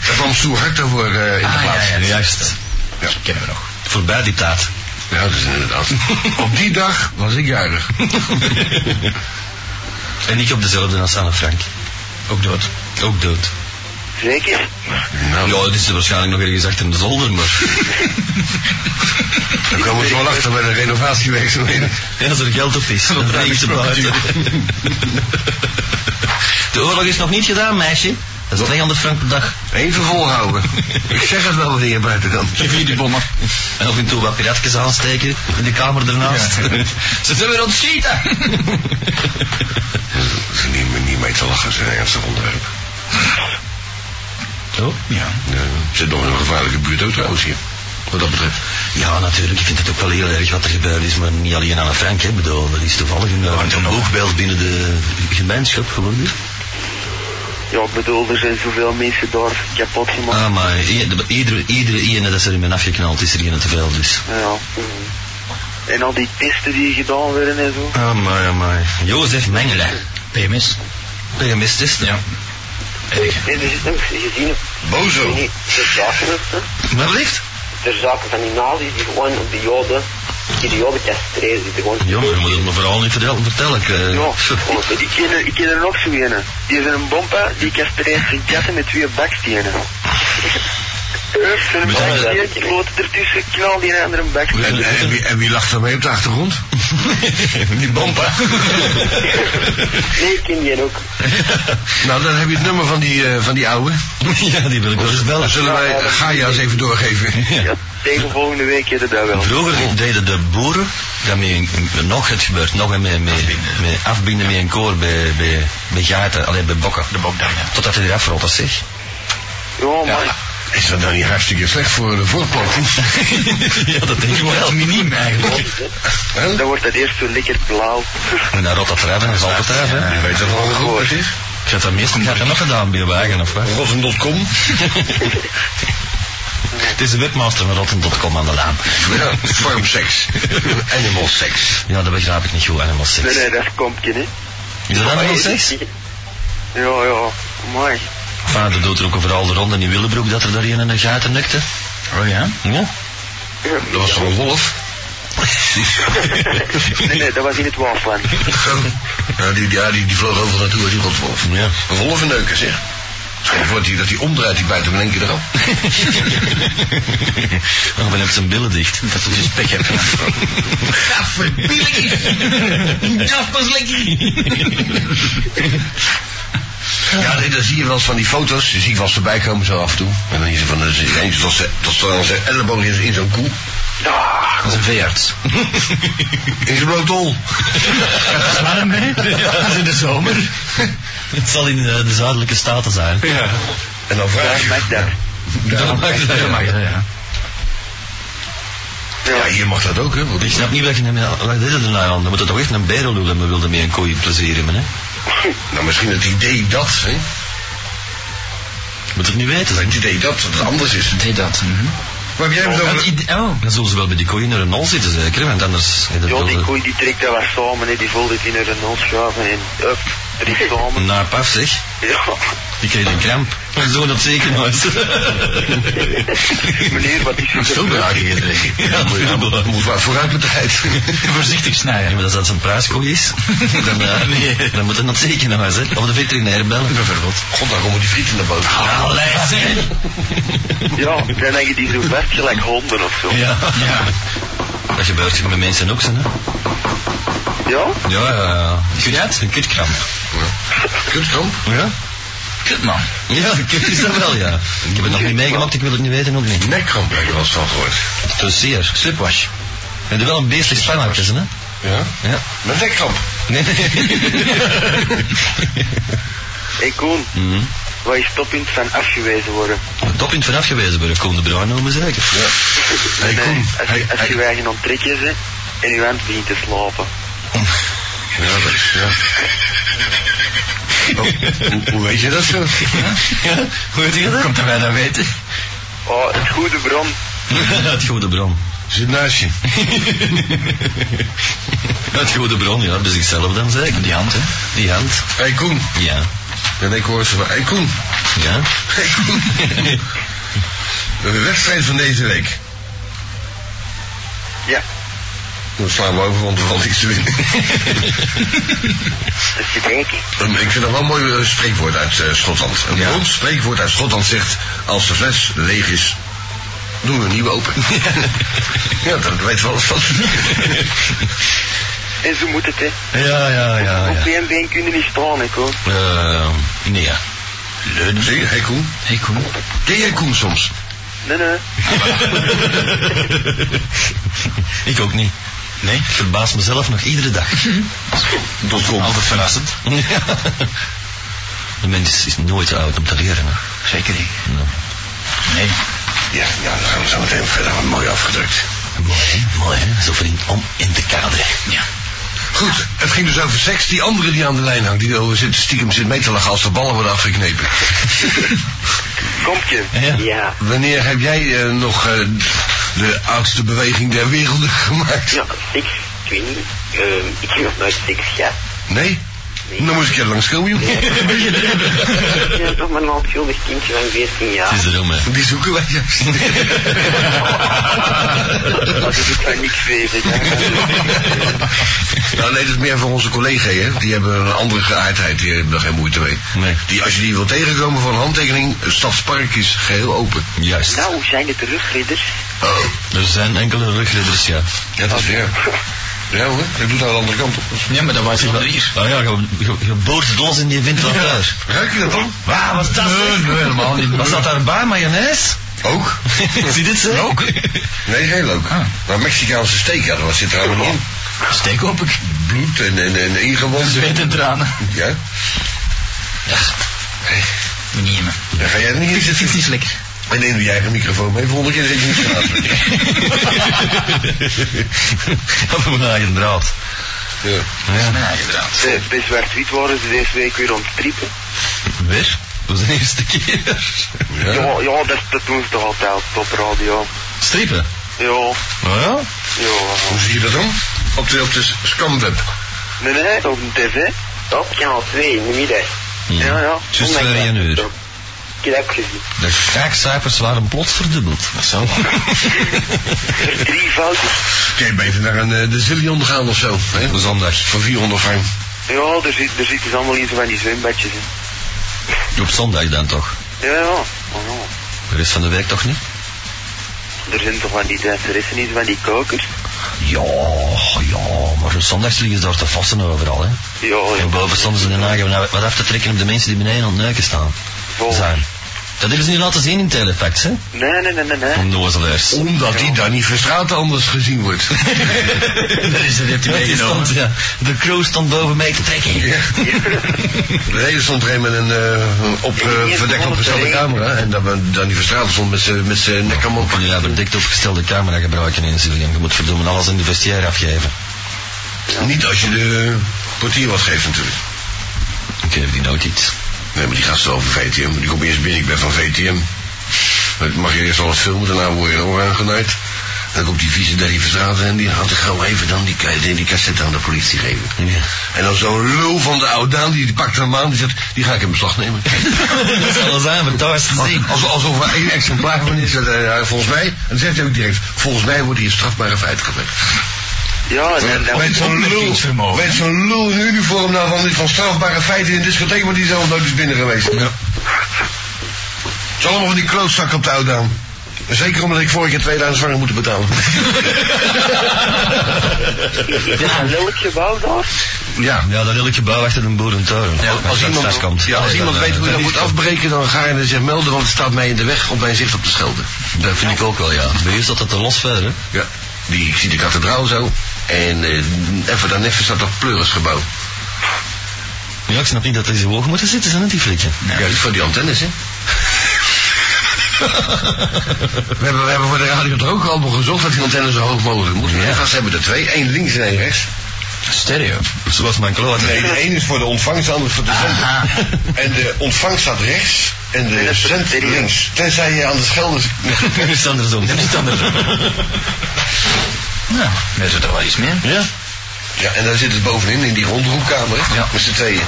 Speaker 2: Daar kwam Suharto voor eh, in de
Speaker 4: Ah, ja,
Speaker 2: plaats.
Speaker 4: ja,
Speaker 1: Juist.
Speaker 2: Ja.
Speaker 4: Kennen we nog.
Speaker 1: Voorbij die taart.
Speaker 2: Ja, dat is inderdaad. Op die dag was ik jarig.
Speaker 1: En ik op dezelfde als Anne Frank. Ook dood. Ook dood.
Speaker 3: Zeker?
Speaker 2: Nou,
Speaker 1: Ja, dit is waarschijnlijk nog ergens achter in de zolder, maar...
Speaker 2: daar komen we wel achter bij de renovatiewerkzaamheden.
Speaker 1: Ja, als er geld op is, dan breng ik ze buiten. De oorlog is nog niet gedaan, meisje. Dat is 200 frank per dag.
Speaker 2: Even volhouden. Ik zeg het wel wanneer buitenkant.
Speaker 1: Geef die bommen. En af en toe wat piratjes aansteken in de kamer ernaast. Ze zullen weer ontschieten!
Speaker 2: Dat is niet, niet mee te lachen, zijn ernstig onderwerp.
Speaker 1: Zo?
Speaker 4: Ja.
Speaker 2: Ja, zit nog in een gevaarlijke buurt ook trouwens hier. Wat dat betreft.
Speaker 1: Ja, natuurlijk. Ik vind het ook wel heel erg wat er gebeurd is, maar niet alleen aan een Frank. Hè. Ik bedoel, dat is toevallig een, een hoogbeeld binnen de gemeenschap geworden.
Speaker 3: Ja, ik bedoel, er zijn zoveel mensen daar kapot gemaakt.
Speaker 1: Ah, maar i- de- iedere, iedere ene dat ze er in afgeknald is, er een te veel dus.
Speaker 3: Ja. En al die testen die gedaan werden en zo.
Speaker 1: Ah, maar, maar. Jozef Mengele.
Speaker 4: PMS.
Speaker 1: PMS-test,
Speaker 4: Ja. Erg.
Speaker 3: En er is nog gezien op
Speaker 2: Bozo.
Speaker 3: die ter zaken, hè,
Speaker 1: Maar licht?
Speaker 3: ter zaken van die nazi's die gewoon op de joden, die de joden castreren, die gewoon...
Speaker 1: Ja, maar je moet het me vooral niet vertellen. vertellen. Ik, eh,
Speaker 3: Ja, ik, ik ken er, ik ken er nog zo een. Die is een bompa, die kastreert zijn katten met twee bakstenen. Uf, zijn
Speaker 1: Met
Speaker 3: baksteen,
Speaker 1: andere-
Speaker 3: die kloot ertussen, knal die andere baksteen.
Speaker 2: En, en, wie, en wie lacht daarmee op de achtergrond?
Speaker 1: Die bompa.
Speaker 3: Nee, ik ken die ook.
Speaker 2: Nou, dan heb je het nummer van die, eh, van die oude.
Speaker 1: ja, die wil ik wel eens
Speaker 2: Dan
Speaker 1: bellen.
Speaker 2: zullen wij Gaia eens even doorgeven.
Speaker 3: Ja, tegen volgende week heb je dat wel.
Speaker 1: Vroeger deden de boeren, dat met een, nog het gebeurt, nog een met, met, met afbinden met een koor bij, bij, bij gaten, alleen bij bokken.
Speaker 4: De bokdag, ja.
Speaker 1: Totdat hij eraf rolt, dat zeg.
Speaker 3: Ja, maar
Speaker 2: Is dat dan niet hartstikke slecht voor de voortplanting?
Speaker 1: ja, dat denk ik wel.
Speaker 4: Miniem eigenlijk.
Speaker 2: Hè?
Speaker 3: dan wordt dat eerst zo lekker blauw.
Speaker 1: En dan rot dat eraf en dat is altijd eraf, hè.
Speaker 2: Je weet dat wel goed het is.
Speaker 1: Ik had dat meestal niet nog gedaan bij wagen, of wat?
Speaker 2: Rotten.com.
Speaker 1: Het is de webmaster van rotten.com aan de laan.
Speaker 2: Ja, farmsex. Animal sex.
Speaker 1: Ja, dat begrijp ik niet goed, animal sex.
Speaker 3: Nee, nee, dat komt niet. hè.
Speaker 1: Is dat animal sex?
Speaker 3: Ja, ja, mooi.
Speaker 1: Enfin, dat doet er ook overal de ronde in Willebroek dat er daar een in de gaten nukte.
Speaker 4: Oh ja.
Speaker 1: Ja.
Speaker 2: Dat was van een wolf.
Speaker 3: Nee, nee, dat was in het Waasland.
Speaker 2: Ja, die, ja, die, die vloog overal naartoe als die rotwolf.
Speaker 1: Ja.
Speaker 2: Een wolf en neuken, zeg. Schijnt wordt hij dat hij omdraait, die bijt hem in één keer erop.
Speaker 1: Oh, dan heb zijn billen dicht.
Speaker 4: Dat is dus pech heb. Ja, verbiedig. Ja, pas
Speaker 2: Ja, nee, dan zie je wel eens van die foto's. Die zie ik wel eens voorbij komen zo af en toe. En dan is er van, dat is eens tot ze- tot ze aan zijn elleboog is in zo'n koe.
Speaker 3: Ja,
Speaker 4: Dat is een veearts.
Speaker 2: In zijn blote hol.
Speaker 4: Dat is warm, hè? Dat is in de zomer.
Speaker 1: Het zal in eh, de zuidelijke staten zijn.
Speaker 4: Ja.
Speaker 2: En dan vraag
Speaker 3: dat
Speaker 2: je...
Speaker 3: mag dat.
Speaker 1: Dat mag zijn.
Speaker 4: Dat mag, ja.
Speaker 2: Ja, hier mag dat ook, hè. Want
Speaker 1: Ik snap niet wat je hem... Wat is het er nou aan? Dan moet het toch echt een bedel doen en we wilden mee een koeien plezier hebben, hè?
Speaker 2: nou, misschien het idee dat, hè.
Speaker 1: Moet het niet weten.
Speaker 2: Het idee dat, dat het anders is.
Speaker 4: Deed dat.
Speaker 2: Waar heb jij hem zo...
Speaker 4: Oh, oh.
Speaker 1: Dan zullen ze wel bij die koeien naar een nol zitten, zeker? Want anders... eh, dat
Speaker 3: Ja,
Speaker 1: wil
Speaker 3: die
Speaker 1: de-
Speaker 3: koei die trekt dat wat samen, hè. die voelt het in haar nul schuiven en up, drie samen.
Speaker 1: Nou, paf zeg.
Speaker 3: Ja,
Speaker 1: Die kreeg een kramp. Mijn zoon op ziekenhuis.
Speaker 3: meneer, wat is er
Speaker 4: Veel
Speaker 3: gebeurd?
Speaker 4: behagen gedreven.
Speaker 1: Ja,
Speaker 2: Moet je-
Speaker 1: maar-
Speaker 2: moet wat vooruit met de tijd.
Speaker 4: Voorzichtig
Speaker 1: Ja,
Speaker 4: snijden.
Speaker 1: maar als dat zijn prijskooi is, dan, eh, dan moet het naar het ziekenhuis, hè. Of de veterinair bellen. Bijvoorbeeld.
Speaker 2: God, dan komen die frieten naar boven.
Speaker 1: Allee, zeg!
Speaker 3: Ja, dan heb je die zo vast gelijk honden of zo.
Speaker 1: Ja.
Speaker 4: Ja.
Speaker 1: Dat gebeurt met mensen ook, zo, hè.
Speaker 3: Ja?
Speaker 1: Ja, ja, ja. Kut, Een kutkramp.
Speaker 2: Kutkramp?
Speaker 1: Ja?
Speaker 4: Kut, man.
Speaker 1: Ja, kut is dat wel, ja. Ik heb het nog niet meegemaakt, ik wil het niet weten ook niet.
Speaker 2: Nekkramp heb ik wel eens van gehoord.
Speaker 1: Zo zeer. Slipwash. En er wel een beestelijk spannetje, hè?
Speaker 2: Ja?
Speaker 1: Ja.
Speaker 2: Met nekkramp.
Speaker 1: Nee, nee.
Speaker 3: Hé Koen,
Speaker 1: Mhm.
Speaker 3: wat is het toppunt van afgewezen worden?
Speaker 1: Oké. toppunt vanaf geweest bij de Koen de Bruin, noemen ze zeker.
Speaker 2: Ja. Hey,
Speaker 3: Nee,
Speaker 2: Koen.
Speaker 3: als,
Speaker 2: Hey,
Speaker 3: je, als
Speaker 2: hey.
Speaker 3: je je eigen onttrek is hè, en je hand begint te slapen.
Speaker 2: Ja, dat is, ja. Oh, hoe, hoe weet je dat zo?
Speaker 1: Ja, hoe weet je dat? Komt er wij dat weten?
Speaker 3: Oh, het goede bron.
Speaker 1: Het goede bron.
Speaker 2: Zit naast je.
Speaker 1: Het goede bron, ja, bij zichzelf dan zeker. Die hand, hè? Die hand.
Speaker 2: Hey Koen.
Speaker 1: Ja.
Speaker 2: Ja, nee, ik hoor ze van. Hey Koen.
Speaker 1: Ja.
Speaker 2: Hey Koen. De wedstrijd van deze week.
Speaker 3: Ja,
Speaker 2: Dan slaan we over, want er valt niks te winnen.
Speaker 3: dat zit denken.
Speaker 2: Ehm, ik vind dat wel een mooi eh, spreekwoord uit eh, Schotland. Een
Speaker 1: Ja.
Speaker 2: beroemd spreekwoord uit Schotland zegt... als de fles leeg is, doen we een nieuwe open. ja, dat weet wel eens van.
Speaker 3: En zo moet het, hè.
Speaker 1: Ja, ja, Ah, ja,
Speaker 3: Op één been kunnen niet staan, hè, hoor.
Speaker 1: Eh, nee, ja. Leuk.
Speaker 2: Zie je, hey Koen.
Speaker 1: Hey, Koen.
Speaker 2: Ken jij Koen soms?
Speaker 3: Nee, nee.
Speaker 1: ik ook niet. Nee? Mhm. Ik verbaas mezelf nog iedere dag.
Speaker 2: Tot kom.
Speaker 1: Altijd verrassend. De mens is nooit te oud om te leren. Hè. Zeker niet. Nee.
Speaker 2: Ja, ja, dan gaan we zo meteen verder. Wat Mooi afgedrukt.
Speaker 1: Mooi, hè? Mooi, hè? Zo vriend om in te kaderen. Ja.
Speaker 2: Goed, het ging dus over seks. Die andere die aan de lijn hangt, die erover zit, stiekem zit mee te lachen als de ballen worden afgeknepen.
Speaker 3: Kompje.
Speaker 1: Ja.
Speaker 3: Ja.
Speaker 2: Wanneer heb jij eh, nog eh, de oudste beweging der werelden gemaakt?
Speaker 5: Ja, seks, ik weet niet. Ehm, ik heb nog nooit seks gehad.
Speaker 2: Nee?
Speaker 5: Nee.
Speaker 2: Dan moest ik je langs komen, joh.
Speaker 5: Ik ben toch maar een onschuldig kindje van 14
Speaker 1: Het is
Speaker 5: jaar.
Speaker 1: de roem, hè?
Speaker 2: Die zoeken wij juist.
Speaker 3: Dat is ook van niks wezen, ja.
Speaker 2: nou nee, dat is meer voor onze collega's, hè. Die hebben een andere geaardheid, die hebben daar geen moeite mee.
Speaker 1: Nee.
Speaker 2: Die, als je die wil tegenkomen voor een handtekening, het Stadspark is geheel open.
Speaker 1: Juist.
Speaker 3: Nou, hoe zijn het de rugridders?
Speaker 2: Oh.
Speaker 1: Er zijn enkele ruglidders, ja.
Speaker 2: Ja, dat is weer. Ja hoor, ik doe het aan de andere kant op.
Speaker 1: Ja, maar dat was wel hier. Oh ja, je, je, je boort het los in die wind wat daar.
Speaker 2: Ruik je dat dan?
Speaker 1: Waar was dat?
Speaker 2: Nee, nee, helemaal niet.
Speaker 1: Was dat daarbij, mayonaise?
Speaker 2: Ook?
Speaker 1: Zie dit ze? Ook. Ah.
Speaker 2: Nee, geen leuk. Maar Mexicaanse steak, ja, wat zit er allemaal in?
Speaker 1: Steek op ik.
Speaker 2: Bloed en, en, en ingewanden.
Speaker 1: en tranen.
Speaker 2: Ja?
Speaker 1: Ja. Niet meer.
Speaker 2: Dan ga jij er niet in zitten.
Speaker 1: is lekker.
Speaker 2: En neem je eigen microfoon mee, volgende keer zit je niet te praten.
Speaker 1: Op mijn eigen draad.
Speaker 2: Ja.
Speaker 1: Ja. Mijn eigen draad.
Speaker 3: Bij, bij Zwart-Wit waren ze deze week weer onttrippen.
Speaker 1: Weer? Dat was de eerste keer.
Speaker 3: Ja, ja, dat, dat doen ze toch altijd op radio.
Speaker 1: Strippen?
Speaker 3: Ja,
Speaker 1: Oh ja?
Speaker 3: ja.
Speaker 2: Hoe zie je dat dan? Op de, op de scamweb.
Speaker 3: Nee, nee, op de tv.
Speaker 5: Op kanaal 2 in de middag.
Speaker 3: Ja, ja.
Speaker 1: Just
Speaker 5: Oh my
Speaker 1: voor
Speaker 5: God.
Speaker 1: één uur.
Speaker 5: Ik heb dat ook gezien.
Speaker 1: De kraakcijfers waren plots verdubbeld. Dat zo.
Speaker 3: Drievoudig.
Speaker 2: Kun je beter naar een eh, de zillion gaan of zo? Hè? Zondag. Voor 400 frank.
Speaker 3: Ja, er zit, er zit dus allemaal iets van die zwembadjes in.
Speaker 1: Op zondag dan toch?
Speaker 3: Ja, ja. Oh, ja.
Speaker 1: De rest van de week toch niet?
Speaker 3: Er zijn toch van die danseressen iets van die kokers?
Speaker 1: Ja, ja, maar op zondags liggen ze daar te vasten overal, hè.
Speaker 3: Ja, ja.
Speaker 1: En boven stonden ze in de nagen wat af te trekken op de mensen die beneden aan het neuken staan.
Speaker 3: Vol.
Speaker 1: Zijn. Dat hebben ze niet laten zien in Telefax, hè?
Speaker 3: Nee, nee, nee, nee, nee.
Speaker 1: Onnozelaars.
Speaker 2: Omdat die daar niet verstraat anders gezien wordt.
Speaker 1: Dat is het, heeft hij meegenomen. Ja. De crew stond boven mee te trekken.
Speaker 2: De hele stond er een met een eh, op, eh verdek opgestelde camera. En dat we dan die verstraat stond met zijn- met zijn nek allemaal op.
Speaker 1: Kun je daar bedekt opgestelde camera gebruiken in Zillian? Je moet verdomme alles in de vestiaire afgeven.
Speaker 2: Niet als je de portier wat geeft natuurlijk.
Speaker 1: Ik geef die nooit iets.
Speaker 2: Nee, maar die gasten over VTM. Die komt eerst binnen, ik ben van VTM. Dat mag je eerst al wat filmen, daarna word je er ook aangenaaid. Dan komt die vieze Danny Verstraat en die had ik gauw even dan die, ka- die, die cassette aan de politie geven.
Speaker 1: Ja.
Speaker 2: En dan zo'n lul van de oudaan, die, die pakt hem aan, die zegt, die ga ik in beslag nemen.
Speaker 1: Dat zal eens aan, thuis
Speaker 2: Als, als- alsof er één exemplaar van is, dat, eh, volgens mij, en dan zegt hij ook direct, volgens mij wordt hier een strafbare feit gelegd.
Speaker 3: Ja, en dan-
Speaker 2: Met zo'n lul, met zo'n lul in uniform nou van, van strafbare feiten in de discotheek, maar die zelf nooit is binnen geweest. Ja. Het is allemaal van die klootzak op de oudaan. Zeker omdat ik vorige keer 2000 zwanger moeten betalen.
Speaker 3: Ja, een lelijk gebouw daar.
Speaker 2: ja.
Speaker 1: Ja, dat wil ik gebouw achter een boerentoren.
Speaker 2: als iemand, ja, als iemand weet hoe je dat moet afbreken, dan ga je er zich melden, want het staat mij in de weg op mijn zicht op de schelde.
Speaker 1: Dat vind ik ook wel, ja. Bij u is dat het een los verder, hè?
Speaker 2: Ja. Die, ik zie de kathedraal zo. En eh, even dan even staat dat pleurisgebouw.
Speaker 1: Ja, ik snap niet dat er zo hoog moeten zitten, zijn het die flikken?
Speaker 2: Ja, dat is voor die antennes, hè? We hebben, we hebben voor de radio toch ook allemaal gezocht dat die antenne zo hoog mogelijk moet. En gasten hebben er twee. één links en één rechts.
Speaker 1: Stereo.
Speaker 2: Zoals mijn kloot. Nee, de ene is voor de ontvangst, de andere is voor de zender. En de ontvangst staat rechts en de
Speaker 3: dat is
Speaker 2: zend
Speaker 3: stereo.
Speaker 2: links. Tenzij je aan de schelders...
Speaker 1: Dat is andersom. Dat is andersom. Nou, dat is toch wel iets meer.
Speaker 2: Ja. Ja, en daar zit het bovenin, in die rondroepkamer. Ja. Met z'n tweeën.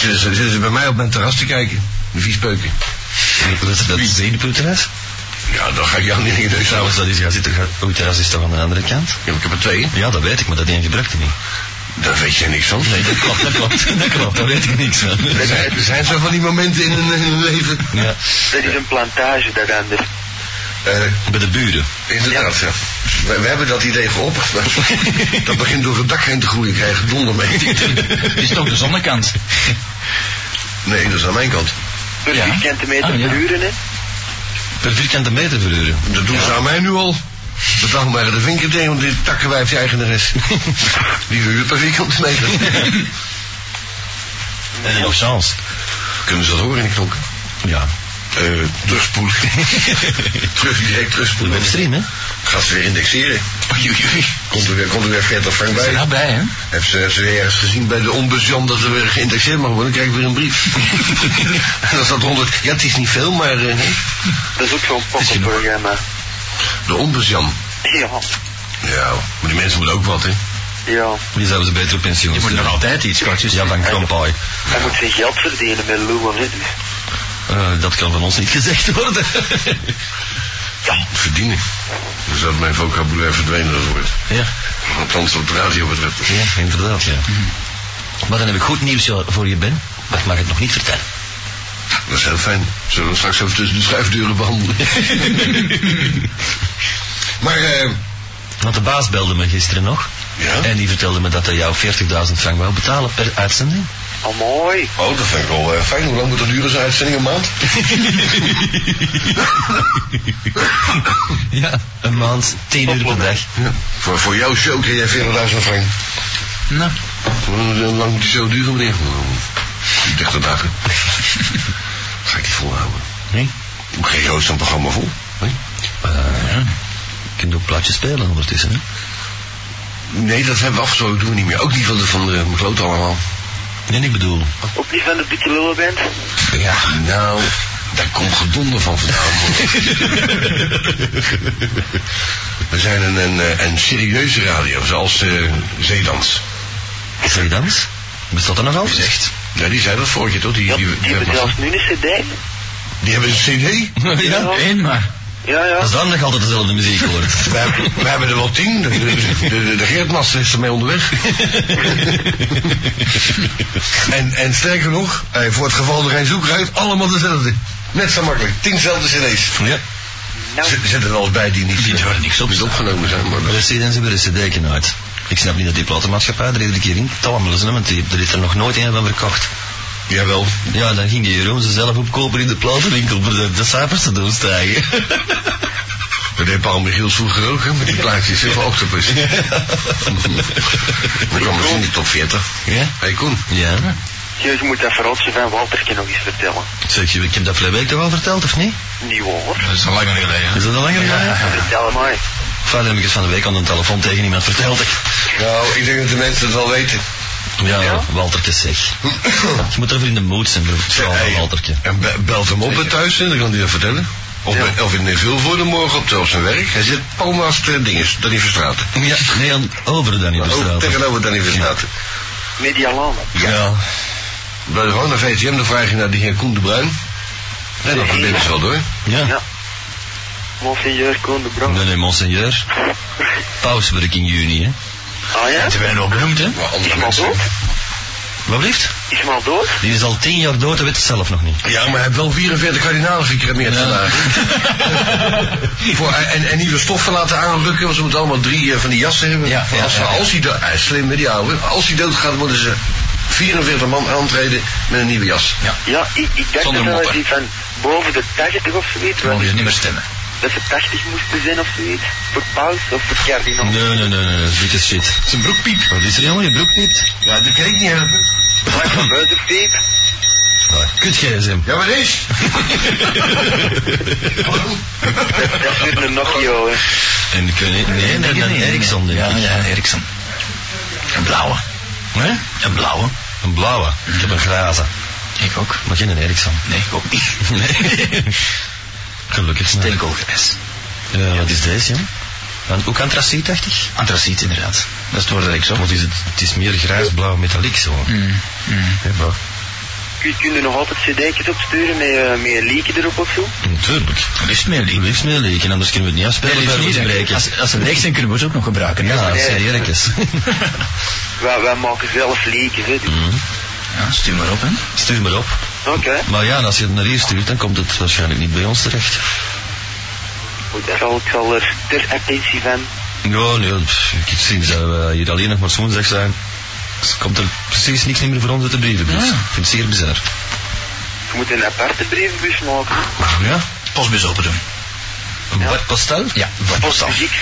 Speaker 2: zitten, ze, zitten ze bij mij op mijn terras te kijken. De viespeuken.
Speaker 1: Dat, dat is zenuwterras.
Speaker 2: Ja, dan ga ik jou niet in de neus houden.
Speaker 1: Trouwens, dat is, ja, zit er, oh, terras is toch aan de andere kant?
Speaker 2: Ja, Ik heb er twee.
Speaker 1: Ja, dat weet ik, maar dat ene gebruikte niet.
Speaker 2: Daar weet je niks van.
Speaker 1: Nee, dat klopt, dat klopt. Dat klopt, daar weet ik niks van.
Speaker 2: Er zijn, er zijn zo van die momenten in hun, in hun leven.
Speaker 1: Ja,
Speaker 3: Dat is een plantage dat anders.
Speaker 2: Eh,
Speaker 1: bij de buren.
Speaker 2: Inderdaad, ja. We, we hebben dat idee geopperd. maar dat begint door het dak heen te groeien. Ik krijg donder mee.
Speaker 4: Het is toch de zonnekant?
Speaker 2: Nee, dat is aan mijn kant.
Speaker 3: Per
Speaker 4: Ja.
Speaker 3: vierkante meter
Speaker 4: Ah, ja.
Speaker 3: per uur, hè?
Speaker 1: Per vierkante meter per uur.
Speaker 2: Dat doen ze aan mij nu al. Dat dacht maar de vinker tegen, want dit takkenwijf die eigenares. Die huurt per vierkante meter.
Speaker 1: En een chance.
Speaker 2: Kunnen ze dat horen in de klok?
Speaker 1: Ja.
Speaker 2: Eh, terugspoelen. Terug, direct
Speaker 1: De
Speaker 2: terugspoelen.
Speaker 1: webstream, hè?
Speaker 2: Gaat ze weer indexeren.
Speaker 1: Oei, oei, nou? oei.
Speaker 2: Komt er weer, komt er weer 40 frank bij.
Speaker 4: Daar bij, hè?
Speaker 2: Heeft ze, heeft ze weer ergens gezien bij de ombudsman dat er weer geïndexeerd mag worden, dan krijg ik weer een brief. en dan staat 100. Ja, het is niet veel, maar eh,
Speaker 3: Dat is ook zo'n pokkenprogramma.
Speaker 2: de ombudsman.
Speaker 3: Ja,
Speaker 2: Ja, maar die mensen moeten ook wat, hè?
Speaker 3: ja.
Speaker 1: Die zouden ze beter op pensioen
Speaker 4: Je moet nog
Speaker 1: sturen.
Speaker 4: altijd iets kortjes.
Speaker 1: Ja, dan Kampai.
Speaker 3: Hij moet zijn geld verdienen met loeren, hè? Dus.
Speaker 1: Eh dat kan van ons niet gezegd worden.
Speaker 2: Verdienen. Dus dat mijn vocabulaire verdwenen dat woord.
Speaker 1: ja,
Speaker 2: Althans, wat de radio betreft.
Speaker 1: ja, inderdaad, ja. Mhm. Maar dan heb ik goed nieuws voor je, Ben. Maar ik mag het nog niet vertellen.
Speaker 2: Dat is heel fijn. Zullen we straks even tussen de schuifdeuren behandelen. maar, eh...
Speaker 1: Want de baas belde me gisteren nog.
Speaker 2: Ja?
Speaker 1: En die vertelde me dat hij jou 40.000 frank wou betalen per uitzending.
Speaker 3: Oh, mooi.
Speaker 2: Oh, dat vind ik wel eh, fijn. Hoe lang moet dat duren, zo'n uitzending? Een maand?
Speaker 1: Ja. Een maand, 10 uur per dag.
Speaker 2: Ja. Voor, voor jouw show kreeg jij 40.000 frank.
Speaker 4: Nou,
Speaker 2: Hoe lang moet die show duren, meneer? 30 dagen. Ga ik die volhouden.
Speaker 1: Nee?
Speaker 2: Hoe kreeg je ooit zo'n programma vol? Nee?
Speaker 1: Eh, ja. Je kunt ook plaatjes spelen ondertussen, hè?
Speaker 2: Nee, dat hebben we afgesproken. doen we niet meer. Ook niet van de, van de kloot allemaal.
Speaker 1: Nee, ik bedoel...
Speaker 3: Ook niet van de dikke lullen bent.
Speaker 2: Ja, nou, daar komt gedonder van vandaan. We zijn een, een, eh, een serieuze radio, zoals eh Zeedans.
Speaker 1: Zeedans? Bestaat dat nog al?
Speaker 2: Zegt. Ja, die zei dat vorige keer, toch? Die,
Speaker 3: Ja,
Speaker 2: die,
Speaker 3: die
Speaker 2: die,
Speaker 3: hebben
Speaker 2: hebben,
Speaker 3: zelfs nu een cd.
Speaker 2: die hebben een cd.
Speaker 1: Ja.
Speaker 4: één maar.
Speaker 3: Ja, ja.
Speaker 1: Als dan nog altijd dezelfde muziek hoort.
Speaker 2: We hebben, we hebben er wel tien. De, de, de, de Geert Master is ermee onderweg. en, en sterker nog, eh, voor het geval er geen zoek uit, allemaal dezelfde. Net zo makkelijk. Tienzelfde cd's.
Speaker 1: Ja.
Speaker 3: Nou,
Speaker 2: Z- Zitten er wel eens bij die niet,
Speaker 1: Die daar niks op
Speaker 2: niet opgenomen zijn, maar...
Speaker 1: Maar de CD's hebben de cd'ken uit. Ik snap niet dat die platenmaatschappij er iedere keer in tammelen ze, want die, er is er nog nooit een van verkocht.
Speaker 2: Jawel.
Speaker 1: Ja, dan ging die Jeroen ze zelf opkopen in de platenwinkel om de, de cijfers te doen stijgen.
Speaker 2: Dat deed Paul Michiels vroeger ook, hè, met die plaatjes hè, van Octopus. Dan kwam dus in die top 40.
Speaker 1: Ja?
Speaker 2: hey, Koen.
Speaker 1: Ja.
Speaker 3: je je moet dat verrotsen van Walterke nog eens vertellen.
Speaker 1: Zeg, je- ik heb dat vorige week toch al verteld, of niet?
Speaker 3: Niet hoor.
Speaker 4: Dat is al langer geleden.
Speaker 1: Is dat al langer geleden?
Speaker 3: Vertel maar.
Speaker 1: Vader heb ik het van de week aan de telefoon tegen iemand verteld.
Speaker 2: Nou, ik denk dat de mensen het wel weten.
Speaker 1: Ja, Waltertje zeg. Je moet ervoor in de mood zijn voor het verhaal van
Speaker 2: Hey,
Speaker 1: Waltertje.
Speaker 2: En be- belt hem op hè, thuis en dan kan hij dat vertellen. Of,
Speaker 3: Ja.
Speaker 2: bij- of in Vilvoorde morgen op, de- op zijn werk. Hij zit pal naast eh, dinges, Danny Verstraat.
Speaker 1: Ja, Oh, nee, aan over dan niet
Speaker 2: Ook
Speaker 1: bestraten.
Speaker 2: tegenover Danny Verstraat.
Speaker 3: Medialaan.
Speaker 1: Ja.
Speaker 2: Bij de gewone VTM dan vraag je naar die heer Koen de Bruin. En dan verbinden ze wel door.
Speaker 1: Ja.
Speaker 3: Ja. Monseigneur Koen de Bron.
Speaker 1: Nee, nee, monseigneur. Pauswerk in juni, hè.
Speaker 3: Ah ja?
Speaker 4: Zijn wij nog benoemd, hè?
Speaker 2: Maar
Speaker 3: Is
Speaker 2: andere
Speaker 3: hem al
Speaker 2: mensen.
Speaker 3: dood?
Speaker 1: Wat blijft?
Speaker 3: Is hem al dood?
Speaker 1: Die is al tien jaar dood, dat weet het zelf nog niet.
Speaker 2: Ja, maar hij heeft wel 44 kardinalen gecremeerd vandaag. Voor, en, en nieuwe stoffen laten aanrukken, want ze moeten allemaal drie eh, van die jassen hebben.
Speaker 1: Ja, ja,
Speaker 2: als,
Speaker 1: ja, ja.
Speaker 2: als hij dood, hij is slim met die oude. Als hij dood gaat, worden ze 44 man aantreden met een nieuwe jas.
Speaker 3: Ja, ik, ik dacht
Speaker 4: Zonder
Speaker 3: dat dat
Speaker 4: moppen.
Speaker 3: die van boven de 80 of zoiets
Speaker 4: Dan
Speaker 3: was.
Speaker 4: mogen ze niet meer stemmen.
Speaker 3: Dat ze 80 moesten zijn of zoiets. Voor paus of voor kardinaal.
Speaker 1: Nee, nee, nee, nee, nee, dit is shit.
Speaker 4: Zijn broek piept.
Speaker 1: Wat is er jongen? Je broek niet?
Speaker 2: Ja, dat kan ik niet helpen.
Speaker 3: Maar van buiten piep.
Speaker 1: Kut gsm.
Speaker 2: Ja, maar is?
Speaker 3: Dat is weer een Nokia hoor.
Speaker 1: En ik weet niet, nee, nee, nee, nee, Ericsson denk
Speaker 4: Ja,
Speaker 1: ik.
Speaker 4: ja, Ericsson. Een blauwe.
Speaker 1: Hè?
Speaker 4: Een blauwe.
Speaker 1: Een blauwe. Ik heb een glazen.
Speaker 4: Ik ook.
Speaker 1: Maar geen een Ericsson.
Speaker 4: Nee, ik ook niet.
Speaker 1: Nee. Gelukkig.
Speaker 4: Steenkoolgrijs.
Speaker 1: Eh, wat is deze, jong? Een- Ook antracietachtig?
Speaker 4: Antraciet, inderdaad. Dat is het woord dat ik zo.
Speaker 1: Wat is het? Het is meer grijs-blauw metaliek zo.
Speaker 4: Mm, mm.
Speaker 1: Hè, maar-
Speaker 3: Je kunt er nog altijd cd'tjes opsturen met, eh, met een liedje erop of zo.
Speaker 1: Natuurlijk.
Speaker 4: Liefst meer lief.
Speaker 1: Liefst meer leken, anders kunnen we het niet afspelen
Speaker 4: Nee, liefst
Speaker 1: bij
Speaker 4: niet, hè.
Speaker 1: roetbreken.
Speaker 4: Als, als ze leeg zijn, kunnen we ze ook nog gebruiken. hè?
Speaker 1: Ja,
Speaker 3: nee.
Speaker 1: serieus.
Speaker 3: Wij, wij maken zelf liedjes, hè. dus-
Speaker 4: Ja, stuur maar op, hè.
Speaker 1: Stuur maar op.
Speaker 3: Oké.
Speaker 1: Maar ja, en als je het naar hier stuurt, dan komt het waarschijnlijk niet bij ons terecht.
Speaker 3: Goed, dat zal, ik zal er ter attentie van.
Speaker 1: Ja, nee, pff, ik zie dat we hier alleen nog maar woensdag zijn. Dus komt er precies niks meer voor ons uit de brievenbus.
Speaker 4: Ja.
Speaker 1: dus Ik vind het zeer bizar.
Speaker 3: Je moet een aparte brievenbus maken.
Speaker 1: Ja?
Speaker 4: Postbus open doen.
Speaker 1: Een Bart Postel?
Speaker 4: Ja,
Speaker 3: Post
Speaker 4: postal.
Speaker 3: muziek.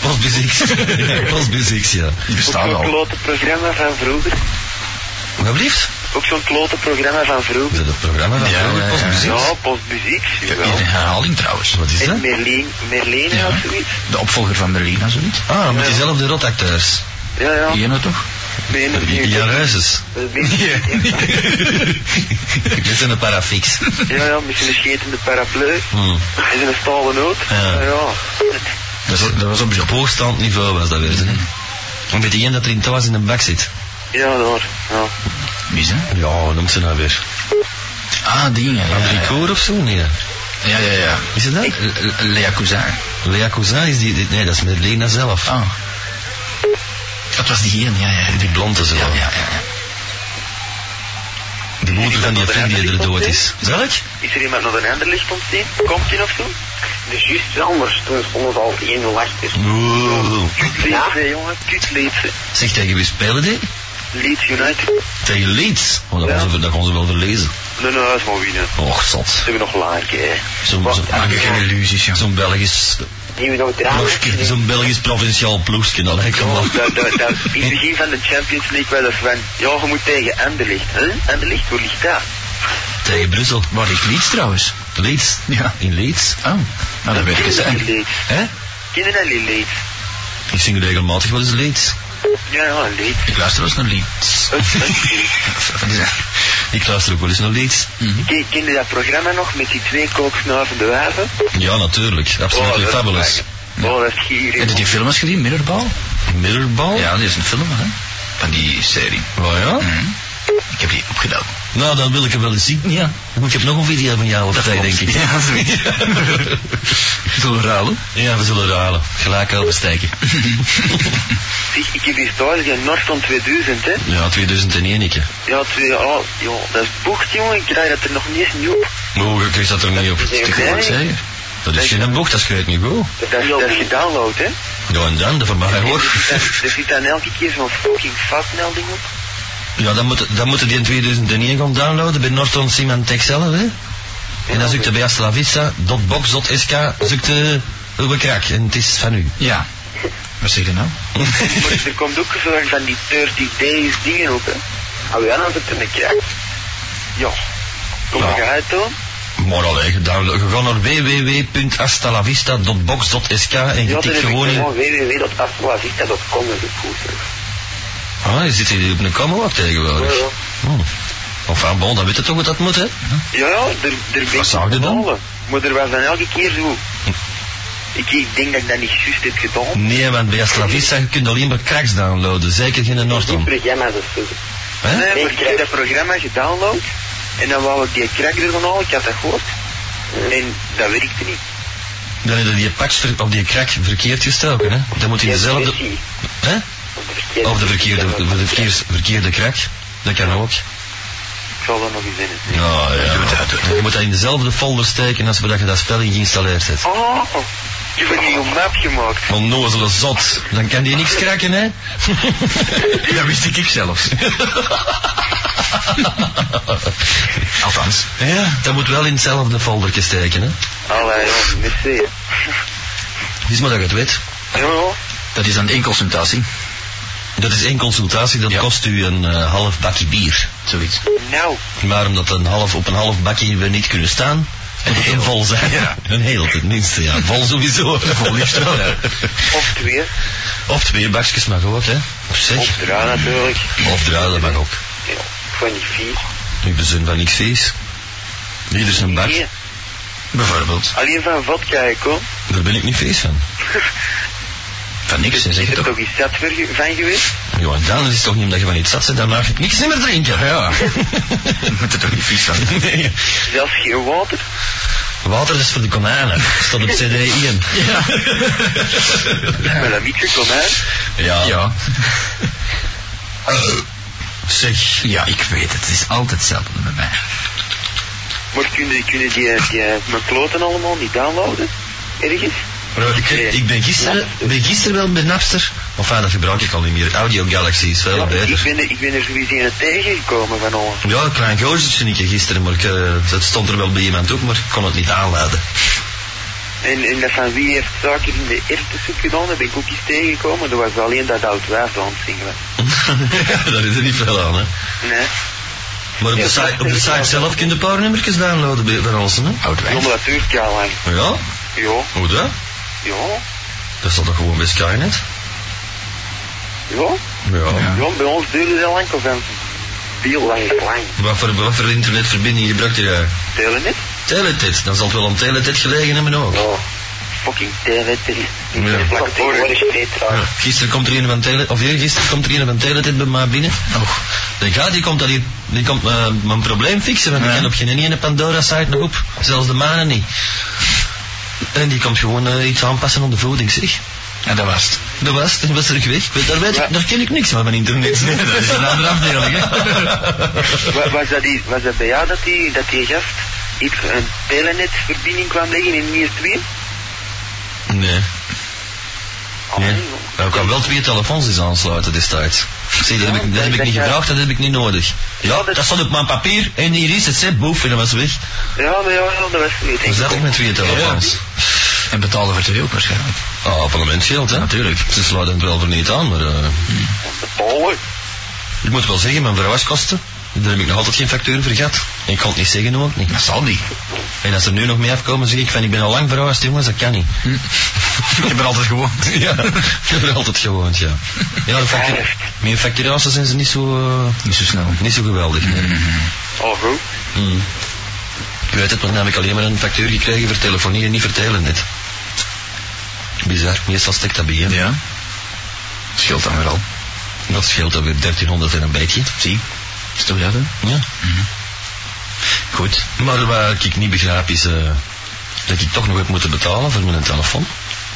Speaker 1: Postbus X. ja, Postbus X, ja.
Speaker 4: Die
Speaker 3: Ook
Speaker 4: bestaan
Speaker 3: zo'n
Speaker 4: al.
Speaker 3: klote programma van vroeger.
Speaker 1: Wat blieft?
Speaker 3: Ook zo'n klote programma van
Speaker 1: Is
Speaker 3: vroeger.
Speaker 1: dat het programma van
Speaker 4: Ja,
Speaker 1: vroeger?
Speaker 4: ja, ja.
Speaker 1: Postbus X?
Speaker 3: Ja, postmuziek,
Speaker 4: In
Speaker 3: jawel.
Speaker 4: herhaling trouwens.
Speaker 1: Wat is dat?
Speaker 3: En Merlin, Merlene
Speaker 4: Ja.
Speaker 3: of zoiets.
Speaker 4: De opvolger van Merlina, zoiets.
Speaker 1: Ah, met diezelfde rotacteurs.
Speaker 3: Ja, ja.
Speaker 4: Die ene toch?
Speaker 3: Nee, dat is
Speaker 1: Jan Ruizes.
Speaker 3: Eh, niet.
Speaker 1: Dit zijn de parafix.
Speaker 3: Ja, ja, misschien een schetende paraplu.
Speaker 1: Hmm.
Speaker 3: Hij is een stalen ook.
Speaker 1: Ja.
Speaker 3: Ja, ja.
Speaker 1: Dat, was- dat was op op hoogstaand niveau was dat weer. hè. En weet je dat er in thuis in de bak zit?
Speaker 3: Ja, daar. Ja.
Speaker 4: Wie is dat?
Speaker 1: Ja, hoe noemt ze nou weer?
Speaker 4: Ah, die. Ja, ja,
Speaker 1: André Koor of zo? Nee.
Speaker 4: ja. ja, ja, ja.
Speaker 1: Is het dat?
Speaker 4: L- L- Lea Cousin.
Speaker 1: Lea Cousin is die... die- Nee, dat is met Lena zelf.
Speaker 4: Ah. Dat was die ene, ja, ja.
Speaker 1: Die blonde zo.
Speaker 4: Ja, ja, ja. ja.
Speaker 1: De moeder van die vriend die er dood is. Welk?
Speaker 3: Is er iemand nog een ander licht ontzien? Komt die of zo?
Speaker 5: Dus juist anders, toen stond het al één achter.
Speaker 1: Wow.
Speaker 3: Kutleedse, jongen. Kutleedse.
Speaker 1: Zeg, tegen wie spelen die?
Speaker 3: Leeds United.
Speaker 1: Tegen Leeds. Oh, dat,
Speaker 3: Ja.
Speaker 1: gaan ze, dat gaan ze wel verlezen.
Speaker 3: Nee, nee, dat is maar winnen.
Speaker 1: Och, zot.
Speaker 3: Ze hebben nog laagje, hè.
Speaker 1: Zo'n
Speaker 3: Wat? nou
Speaker 1: zo,
Speaker 4: Maak je geen illusies, joh.
Speaker 1: zo'n Belgisch...
Speaker 5: Die we nog
Speaker 1: ploegje,
Speaker 5: draaien.
Speaker 1: Zo'n Belgisch provinciaal ploegje. Nou, Dat lijkt me wel.
Speaker 3: Oh, Dat, dat, dat, in het begin van de Champions League was dat van, ja, je moet tegen Anderlecht. Huh? Anderlecht, hoe ligt dat?
Speaker 1: Tegen Brussel.
Speaker 4: Waar ligt Leeds trouwens?
Speaker 1: Leeds.
Speaker 4: Ja.
Speaker 1: In Leeds.
Speaker 4: Oh, nou dat weet ik eens.
Speaker 3: Kinderen
Speaker 4: hè.
Speaker 3: Leeds.
Speaker 1: Hè?
Speaker 3: Kinderen die Leeds.
Speaker 1: Ik zing regelmatig wel eens Leeds.
Speaker 3: Ja, ja, Leeds.
Speaker 4: Ik luister wel eens naar Leeds.
Speaker 3: Het- het Leeds.
Speaker 4: Wat is dat?
Speaker 1: Ik luister ook wel eens naar Leeds.
Speaker 3: Ken- Ken je dat programma nog met die twee kooksnuivende wijven?
Speaker 1: Ja, natuurlijk. Absolutely
Speaker 3: Oh, dat is
Speaker 1: fabulous.
Speaker 3: lekker. Oh, dat is gierig.
Speaker 4: Heb je die film eens gezien, Oh. Mirrorball?
Speaker 1: Mirrorball?
Speaker 4: Ja, die is een film, hè? Van die serie.
Speaker 1: Oh ja?
Speaker 4: Mhm. Ik heb die opgedaan.
Speaker 1: Nou, dan wil ik hem wel eens zien.
Speaker 4: Ja.
Speaker 1: Ik heb nog een video van jou op dat denk ik.
Speaker 4: Ja, zoiets. Zullen we ruilen?
Speaker 1: Ja, we zullen ruilen. Gelijk al bestijken.
Speaker 3: Zeg, ik heb hier thuis die Norton 2000, hè.
Speaker 1: Ja, 2001 ik. hè.
Speaker 3: Ja, twee, oh, joh, dat is bocht, jongen. Ik krijg dat er nog niet eens nieuw. op.
Speaker 1: Oh, je krijgt dat er niet op.
Speaker 3: is
Speaker 1: Te
Speaker 3: Nee.
Speaker 1: goed, hè?
Speaker 4: Zeker.
Speaker 1: Dat is geen bocht, dat schrijft niet goed.
Speaker 3: Dat is, dat is gedownload, hè.
Speaker 1: Ja, en dan, dat van mij
Speaker 3: Er
Speaker 1: hoor.
Speaker 3: zit- er zit dan elke keer zo'n fucking foutmelding op.
Speaker 1: Ja, dan moeten dan moeten die in 2001 gaan downloaden bij Norton Symantec zelf, hè. En dan zoekt je bij astalavista.box.sk, zoekt je uw krak. En het is van u.
Speaker 4: Ja. Wat zeg je nou?
Speaker 3: Maar er komt ook zo'n van die 30 days dingen op, hè.
Speaker 5: Ah, we hadden het in de kerk.
Speaker 3: Ja. Kom
Speaker 1: Ja.
Speaker 3: je uit, dan?
Speaker 1: Maar allee, gedownload. Je gaat naar www.astalavista.box.sk en je
Speaker 5: Ja, toen
Speaker 1: tikt
Speaker 5: heb ik
Speaker 1: gewoon in...
Speaker 5: gewoon www.astrolazista.com gekozen.
Speaker 1: Ah, je zit hier op een kamer ook tegenwoordig.
Speaker 5: Ja, ja.
Speaker 1: Hmm. Enfin, bon, dan weet je toch wat dat moet, hè?
Speaker 3: Ja, ja, er, er ben ik
Speaker 1: Wat zou je dan?
Speaker 3: gevallen. Maar er was dan elke keer zo... Ik, ik denk dat ik dat niet juist heb gedaan.
Speaker 1: Nee, want bij Aslavista je kunt alleen maar cracks downloaden. Zeker geen
Speaker 5: Die
Speaker 1: Norton.
Speaker 5: programma's is zo.
Speaker 1: Hè?
Speaker 3: Nee, maar ik heb dat programma gedownload. En dan wou ik die crack er van halen, ik had dat gehoord. En dat werkte niet.
Speaker 1: Dan heb je die patch ver- of die crack verkeerd gestoken, hè? Dan moet je dezelfde...
Speaker 5: versie.
Speaker 1: Hè?
Speaker 5: Op de verkeerde
Speaker 1: Of de verkeerde,
Speaker 5: versie.
Speaker 1: de verkeers, verkeerde crack. Dat kan ook.
Speaker 3: Ik zal dat nog eens in het.
Speaker 1: Ja, ja. Je moet dat in dezelfde folder steken als dat je dat spel in geïnstalleerd hebt.
Speaker 3: Oh, je hebt een nieuwe map gemaakt.
Speaker 1: Onnozele zot. Dan kan die niks kraken, hè?
Speaker 4: Dat wist ik ik zelfs. Althans.
Speaker 1: Ja. Dat moet wel in hetzelfde foldertje steken, hè?
Speaker 3: Allee, ja, merci.
Speaker 1: Het is maar dat je het weet.
Speaker 3: Ja,
Speaker 4: Dat is dan enkel
Speaker 1: Dat is één consultatie, dat kost u een eh, half bakje bier. Zoiets.
Speaker 3: Nou,
Speaker 1: Maar omdat een half, op een half bakje we niet kunnen staan. En heel vol zijn. Een heel tenminste, ja. Vol sowieso. Vol liefst wel.
Speaker 3: of twee.
Speaker 1: Of twee bakjes mag ook, hè. Zeg.
Speaker 3: Of draai natuurlijk.
Speaker 1: Of draai, dat mag ook.
Speaker 3: Ja, ik vond niet vies.
Speaker 1: Ik bezin van niks vies. Ieder zijn bak.
Speaker 3: Nee,
Speaker 1: dus Bijvoorbeeld.
Speaker 3: alleen van vodka ik hoor.
Speaker 1: Daar ben ik niet vies van. Van niks, hè, zeg
Speaker 3: Is er
Speaker 1: je toch?
Speaker 3: toch iets zat voor ge- van geweest?
Speaker 1: Ja, dan is het toch niet omdat je van iets zat bent, dan mag ik niks meer drinken. Ja. Moet er toch niet vies van Nee.
Speaker 3: Zelfs geen water?
Speaker 1: Water is voor de konijnen. Staat op CD1. Ja.
Speaker 3: Met een mietje konijn.
Speaker 1: Ja.
Speaker 4: Ja.
Speaker 1: Zeg.
Speaker 4: Ja, ik weet het. Het is altijd hetzelfde bij mij.
Speaker 3: Maar kunnen, kunnen die, die mijn kloten allemaal niet downloaden? Ergens?
Speaker 1: Nou, Ik, ik ben gisteren ben gisteren wel met Napster. Of enfin, dat gebruik ik al niet meer. Audio Galaxy is veel
Speaker 3: Ja, ik,
Speaker 1: beter.
Speaker 3: ben, er- ik ben er sowieso in het tegengekomen van ons.
Speaker 1: Ja, een klein gozer vind ik gisteren, maar ik, eh, het stond er wel bij iemand op, maar ik kon het niet aanladen.
Speaker 3: En, en dat van wie heeft zaken in de eerste soep gedaan, daar ben ik ook iets tegengekomen. Dat was alleen dat oud wijf aan het zingen.
Speaker 1: Daar is er niet veel aan, hè.
Speaker 3: Nee.
Speaker 1: Maar op de, site, op de site zelf kun je een paar nummertjes downloaden bij, bij ons, hè.
Speaker 3: Ja, maar dat duurt ja lang.
Speaker 1: Ja,
Speaker 3: Ja,
Speaker 1: hoe dat?
Speaker 3: ja,
Speaker 1: Dat staat toch gewoon bij Skynet?
Speaker 3: ja.
Speaker 1: ja.
Speaker 3: Ja, bij ons duurde dat lang of een veel lang, lang.
Speaker 1: Wat voor, wat voor internetverbinding gebruikt je?
Speaker 3: Telenet?
Speaker 1: Teletit. Dan zal het wel om Teletit gelegen hebben ook.
Speaker 3: Ja. Oh, Fucking Telenet.
Speaker 1: Ja.
Speaker 3: Ja. Vlak tegenwoordig beter.
Speaker 1: Ja, Ah, Gisteren komt er een van Tele, of gisteren komt er een van Teletit bij mij binnen. Och, denk ja, die komt, dat hier, die komt eh, mijn probleem fixen, want ik kan op geen ene Pandora-site nog op. Zelfs de manen niet. En die komt gewoon eh, iets aanpassen aan de voeding, zeg.
Speaker 4: En dat was het.
Speaker 1: Dat was, dat was terug weg. Ik weet- Daar, weet
Speaker 3: Ja.
Speaker 1: ik, daar ken ik niks van, van internet. Nee, dat is een andere afdeling, hè.
Speaker 3: Wa- Was dat, die, was dat bij jou dat die, dat die gast iets, een telenetverbinding kwam leggen in Nier 2?
Speaker 1: Nee.
Speaker 3: Oh,
Speaker 1: Nee.
Speaker 3: nee.
Speaker 1: Nou, ik kan wel twee telefoons eens aansluiten destijds. Zie, dat heb ik, dat heb ik niet gevraagd, dat heb ik niet nodig. Ja, dat stond op mijn papier en hier is het, zet boef, en dat was weg.
Speaker 3: Ja, maar ja, ja, dat was niet.
Speaker 1: Dus dat ook met twee telefoons.
Speaker 4: En betalen voor twee ook waarschijnlijk.
Speaker 1: Ah, abonnementgeld, hè? Natuurlijk. Ze sluiten het wel voor niet aan, maar... eh,
Speaker 3: Ballen.
Speaker 1: ik moet wel zeggen, mijn verhuiskosten, daar heb ik nog altijd geen factuur voor gehad. En ik kan het niet zeggen, ook niet.
Speaker 4: Dat zal niet.
Speaker 1: En als er nu nog mee afkomen, zeg ik van, ik ben al lang verhuisd, jongens, dat kan niet.
Speaker 4: Hm. Je bent altijd gewoond.
Speaker 1: Ja, ik heb er altijd gewoond, ja. Ja, de factu-
Speaker 3: Echt?
Speaker 1: mijn facturaties zijn ze niet zo, eh,
Speaker 4: Niet zo snel.
Speaker 1: niet zo geweldig, nee.
Speaker 3: Oh, goed.
Speaker 1: Hmm. Ik weet het, want dan heb ik alleen maar een factuur gekregen voor telefonie en niet voor telenet. Bizar, meestal steekt dat bij je.
Speaker 4: Ja. Scheelt dan weer al.
Speaker 1: Dat scheelt dan weer 1300 en een beetje.
Speaker 4: Zie. Is toch dat, hè? Mhm.
Speaker 1: Ja.
Speaker 4: Goed.
Speaker 1: Maar wat ik niet begrijp is eh, dat ik toch nog heb moeten betalen voor mijn telefoon.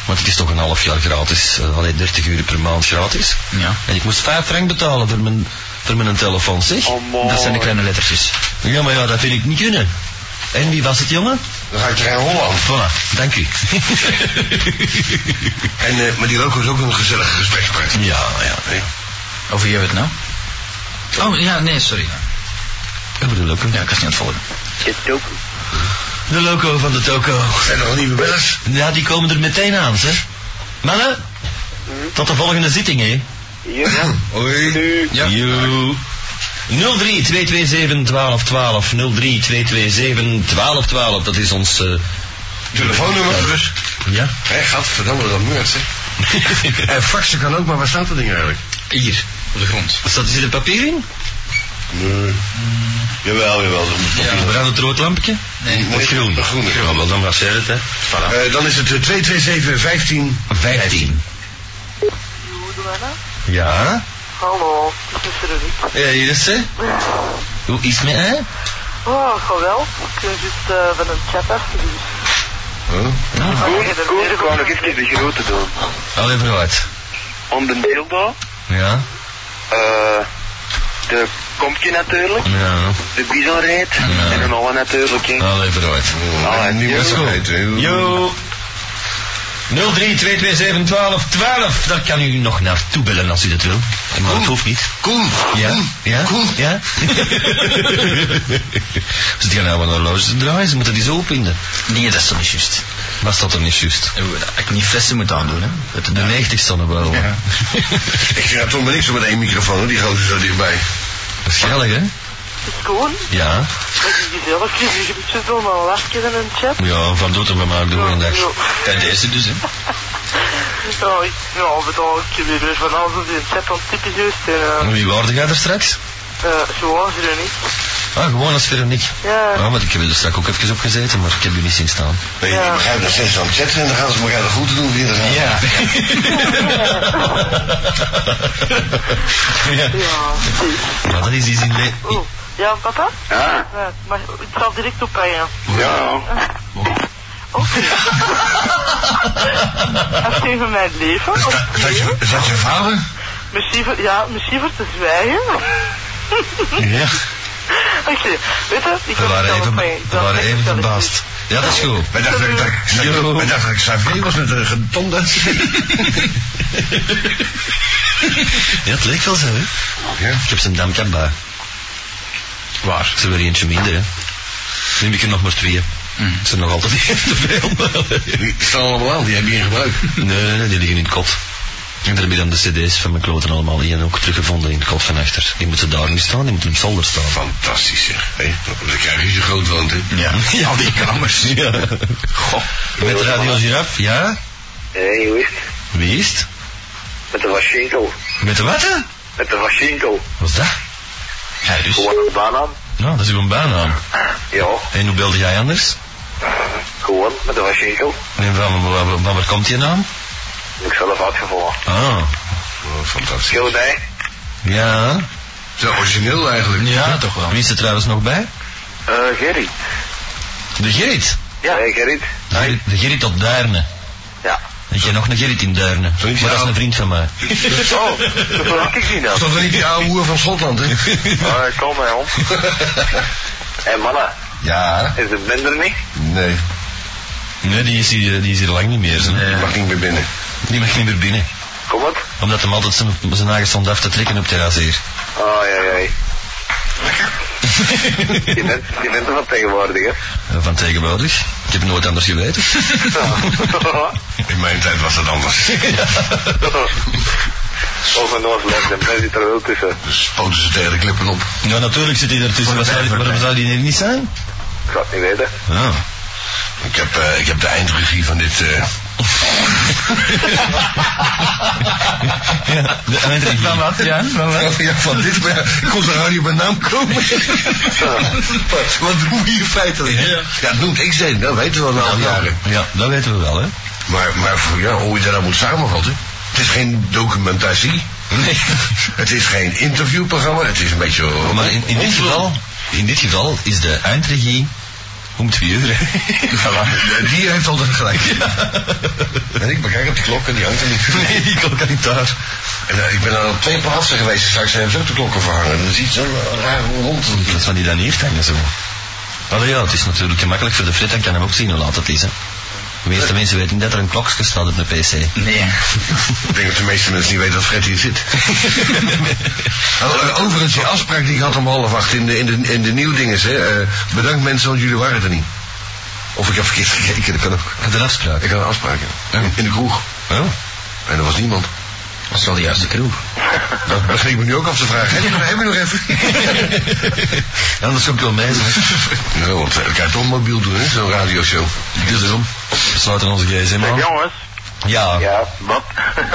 Speaker 1: Want het is toch een half jaar gratis, eh, alleen 30 euro per maand gratis.
Speaker 4: Ja.
Speaker 1: En ik moest 5 frank betalen voor mijn, voor mijn telefoon, zeg.
Speaker 3: Oh, man.
Speaker 4: Dat zijn de kleine lettertjes.
Speaker 1: Ja, maar ja, dat vind ik niet kunnen. En wie was het, jongen?
Speaker 2: Dan ga ik er in
Speaker 4: Oh.
Speaker 2: Holland.
Speaker 1: Voilà, dank u.
Speaker 2: En, eh, maar die loco is ook een gezellige gesprekspartner.
Speaker 1: ja, ja.
Speaker 4: Over wie hebben we het nou? Oh, ja, nee, sorry.
Speaker 1: Ik bedoel ook, hè.
Speaker 4: Ja, ik was niet aan het volgen.
Speaker 3: Je dook.
Speaker 1: De loco van de toko.
Speaker 2: Zijn er al nieuwe bellers?
Speaker 1: Ja, die komen er meteen aan, zeg. Mannen, tot de volgende zitting, hè.
Speaker 3: Hm? Ja.
Speaker 2: Hoi.
Speaker 3: Nu.
Speaker 1: Ja. 03 227 1212 03 227 1212 dat is ons... eh,
Speaker 2: Telefoonnummer dus.
Speaker 1: ja?
Speaker 2: Hé, gadverdamme, dat muurt, zeg. En faxen kan ook, maar waar staat dat ding eigenlijk?
Speaker 1: Hier.
Speaker 4: Op de grond.
Speaker 1: Staat er zit een papier in?
Speaker 2: Nee. Jawel, jawel. Dat moet
Speaker 1: Ja. Brandt het rood lampje?
Speaker 4: Nee.
Speaker 1: Of groen?
Speaker 2: dat groene.
Speaker 1: Ja, wel, dan was jij het, hè. Voilà.
Speaker 2: Eh, dan is het eh, 227 15.
Speaker 1: 15. Ja?
Speaker 5: Hallo, het is Veronique.
Speaker 1: Ja, hier is ze. Hoe is het met hè?
Speaker 5: Oh, geweldig. Ik ben juist eh, van een chat af. Dus.
Speaker 4: Oh.
Speaker 1: Oh,
Speaker 3: Koen, Koen, ik wou nog even de groeten doen.
Speaker 1: Allee, vooruit.
Speaker 3: Om de dildo.
Speaker 1: oh, Ja?
Speaker 3: eh de kompje natuurlijk.
Speaker 1: Ja.
Speaker 3: De bisonreet.
Speaker 1: Ja.
Speaker 3: En een
Speaker 1: Nou,
Speaker 3: alle natuurlijk. hè.
Speaker 2: Nou,
Speaker 1: Allee, vooruit.
Speaker 2: Oh, en nu
Speaker 3: Yo.
Speaker 2: was het.
Speaker 1: Yo! 12 Daar kan u nog naartoe bellen als u dat wil. Maar dat hoeft niet.
Speaker 2: Koen.
Speaker 1: Ja? Ja? Ja? Ze gaan nou aan een horloge te draaien, ze moeten die zo opwinden.
Speaker 6: Nee, dat is toch niet juist. Eh,
Speaker 1: Was dat dan niet juist?
Speaker 6: Ik niet flessen moet aandoen, hè. Dat
Speaker 1: De 90 stonden wel. Ja.
Speaker 2: Ik vind dat toch maar niks zo met één microfoon, hoor, die gozer zo dichtbij.
Speaker 1: Dat is gellig, hè?
Speaker 5: Koen,
Speaker 1: Ja.
Speaker 5: wat is jezelf? Je hebt zomaar lachen in een chat.
Speaker 1: Ja, van doet er bij
Speaker 3: Nou,
Speaker 1: mij op de volgende dag.
Speaker 6: Bij deze dus, hè.
Speaker 5: Ja, ik, ja, bedoel, ik heb hier weer van alles op die chat al typisch juist. En,
Speaker 1: En Wie waarde jij er straks?
Speaker 5: eh, eh, zo was er niet.
Speaker 1: Ah, gewoon als Veronique.
Speaker 5: Ja.
Speaker 1: Ja, want ik heb er dus straks ook even op gezeten, maar ik heb u niet zien staan.
Speaker 2: Nee,
Speaker 5: Ja.
Speaker 2: ik begrijp dat steeds aan het zetten en dan gaan ze elkaar de groeten doen weer. Dan gaan ze-
Speaker 1: ja.
Speaker 5: Ja, zie.
Speaker 1: Maar dat is iets in le-
Speaker 5: Oeh. Ja, papa?
Speaker 3: Ja,
Speaker 5: Ja, maar het zal direct ophangen.
Speaker 3: ja.
Speaker 5: Ah. Oké. Als je van mijn leven?
Speaker 2: Is dat- Is dat je- is dat je vader?
Speaker 5: Misschien voor, ja, misschien voor te zwijgen.
Speaker 1: Ja,
Speaker 5: Oké, weet je, ik
Speaker 1: we
Speaker 5: kan
Speaker 1: waren
Speaker 5: het
Speaker 1: even,
Speaker 5: wel
Speaker 1: we
Speaker 5: ophangen. Dan
Speaker 1: waren
Speaker 5: zeg ik
Speaker 1: even
Speaker 5: dat ik
Speaker 1: verbaasd. Ja, dat is goed.
Speaker 2: Wij dachten dat ik- dat ik-
Speaker 1: Yo.
Speaker 2: wij dachten dat ik Xavier was met een getonde.
Speaker 1: Ja, het leek wel zo, hè?
Speaker 2: Ja.
Speaker 1: Ik heb zijn damkap bij. Waar? Ze hebben er eentje minder, hè? Nu heb ik er nog maar twee. Het zijn nog altijd niet te veel. maar-
Speaker 2: Mm. Die staan allemaal aan, die heb je in gebruik.
Speaker 1: Nee, nee, nee, die liggen in het kot. En daar heb ik dan de cd's van mijn kloten allemaal in ook teruggevonden in het kot van achter. Die moeten daar niet staan, die moeten op zolder staan.
Speaker 2: Fantastisch zeg. Hé, dan krijg je zo groot woont, hè?
Speaker 6: Ja.
Speaker 1: Ja, die kamers. Ja. Goh. Met Radio Giraffe, ja?
Speaker 3: Hé, hoe is het?
Speaker 1: Wie is het?
Speaker 3: Met de Washington.
Speaker 1: Met de wat? hè?
Speaker 3: Met de Washington.
Speaker 1: Wat is dat?
Speaker 6: Ja, dus.
Speaker 3: Gewoon een baan aan.
Speaker 1: Nou, dat is uw baannaam.
Speaker 3: Ja,
Speaker 1: En hoe belde jij anders?
Speaker 3: gewoon met de Washington.
Speaker 1: En van, van, van- van waar komt je naam?
Speaker 3: Ik zelf uitgevallen.
Speaker 1: Ah,
Speaker 2: Oh, fantastisch.
Speaker 3: Heel nee.
Speaker 1: ja.
Speaker 2: Zo origineel eigenlijk.
Speaker 1: Ja, toch wel. Wie is er trouwens nog bij?
Speaker 3: Eh, Gerrit.
Speaker 1: De Gerrit.
Speaker 3: Ja. Hey, Gerrit.
Speaker 1: De Gerrit, de Gerrit op Duirne.
Speaker 3: Ja.
Speaker 1: Ik heb nog een Gerrit in Duirne. Maar
Speaker 2: Zoiets,
Speaker 1: dat is
Speaker 2: ja.
Speaker 1: een vriend van mij.
Speaker 3: Oh, dat verwacht ik nou? niet
Speaker 2: Dat
Speaker 3: dan.
Speaker 2: is toch niet die oude hoer van Schotland, hè?
Speaker 3: Maar Eh, kom maar om. Hé, mannen.
Speaker 2: Ja,
Speaker 3: Is de bender niet?
Speaker 2: nee.
Speaker 1: Nee, die is hier, die is hier lang niet meer. Zo.
Speaker 2: Ik mag niet meer binnen.
Speaker 1: Die mag niet meer binnen.
Speaker 3: Kom op.
Speaker 1: Omdat hem altijd zijn, zijn eigen stond af te trekken op het terras hier.
Speaker 3: Oh, ja, ja. Je bent, je bent er van tegenwoordig, hè?
Speaker 1: Eh, Van tegenwoordig. Ik heb nooit anders geweten.
Speaker 2: In mijn tijd was dat anders.
Speaker 3: Of een Noordland, en Ben zit er wel tussen.
Speaker 2: Dus spoten ze tegen de klippen op.
Speaker 1: Ja, natuurlijk zit hij ertussen. Wat zou die- Waarom zou die er niet zijn?
Speaker 3: Ik zou het niet weten.
Speaker 1: Ah.
Speaker 2: Ik heb, eh, ik heb de eindregie van dit... eh,
Speaker 1: Ja, de eindregie. Van wat, ja?
Speaker 2: Ja, van dit, maar ja, ik kon de radio bij naam komen. Wat- Wat doe je hier feitelijk? hè?
Speaker 1: Ja.
Speaker 2: Ja, dat noemt ik zijn, dat weten we al een aantal jaren.
Speaker 1: Ja, dat weten we wel, hè?
Speaker 2: Maar, maar voor- ja, hoe je dat nou moet samenvatten. Het is geen documentatie.
Speaker 1: Nee.
Speaker 2: Het is geen interviewprogramma. Het is een beetje... eh,
Speaker 1: Maar in, in, dit geval, in dit geval is de eindregie om twee uur.
Speaker 2: Ja, die heeft altijd gelijk. En ik bekijk op de klok en die hangt er niet.
Speaker 1: Nee, die klok kan niet daar.
Speaker 2: En, eh, ik ben aan twee plaatsen geweest. Straks zijn ze ook de klokken verhangen. Dat is iets zo raar rond.
Speaker 1: Dat zou die dan hier hangen zo. Maar ja, het is natuurlijk gemakkelijk voor de frit, dan kan hem ook zien hoe laat het is. Hè. De meeste mensen weten niet dat er een klokje staat op de pc.
Speaker 6: Nee.
Speaker 2: Ik denk dat de meeste mensen niet weten dat Fred hier zit. Oh, eh, Overigens, die afspraak die ik had om half acht in de, in de, in de nieuwdinges. Hè. eh, bedankt mensen, want jullie waren er niet. Of ik heb verkeerd gekeken, dat kan ook.
Speaker 1: Had een afspraak.
Speaker 2: Ik had een afspraak ja. in, in de kroeg.
Speaker 1: Oh.
Speaker 2: En er was niemand.
Speaker 6: Dat is wel de juiste kroeg.
Speaker 2: Dat dat ging ik me nu ook af te vragen. Heb je nog, heb je nog even?
Speaker 1: Anders ook wel mee zijn.
Speaker 2: Nou, want eh, ik kan toch mobiel doen, hè, zo'n radioshow.
Speaker 1: Dus daarom. We sluiten onze gsm
Speaker 3: Zeg,
Speaker 1: aan.
Speaker 3: jongens.
Speaker 1: Ja.
Speaker 3: Ja, wat?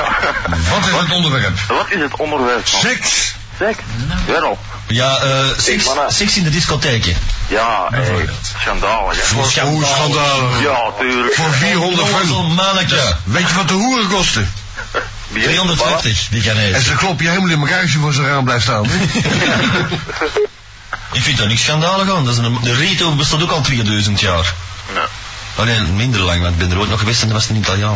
Speaker 2: Wat is het onderwerp?
Speaker 3: wat is het onderwerp van?
Speaker 2: Seks.
Speaker 3: Seks? Weer op.
Speaker 1: Ja, eh seks,
Speaker 3: mannen.
Speaker 1: seks in de discotheken.
Speaker 3: Ja, eh, schandalig, hè?
Speaker 2: Voor hoe schandalig.
Speaker 3: Ja, tuurlijk.
Speaker 2: Voor 400
Speaker 1: Onnozel
Speaker 2: frank.
Speaker 1: mannetje.
Speaker 2: Weet je wat de hoeren kosten?
Speaker 3: Bier,
Speaker 1: 350, die gaan
Speaker 2: En
Speaker 1: eten.
Speaker 2: ze kloppen je helemaal in elkaar als je voor zijn raam blijft staan. hè?
Speaker 1: Ik vind daar niks schandalig aan. Dat is een, de Rito bestaat ook al 2000 jaar.
Speaker 3: Ja.
Speaker 1: Alleen minder lang, want ik ben er ooit nog geweest en dat was een Italiaan.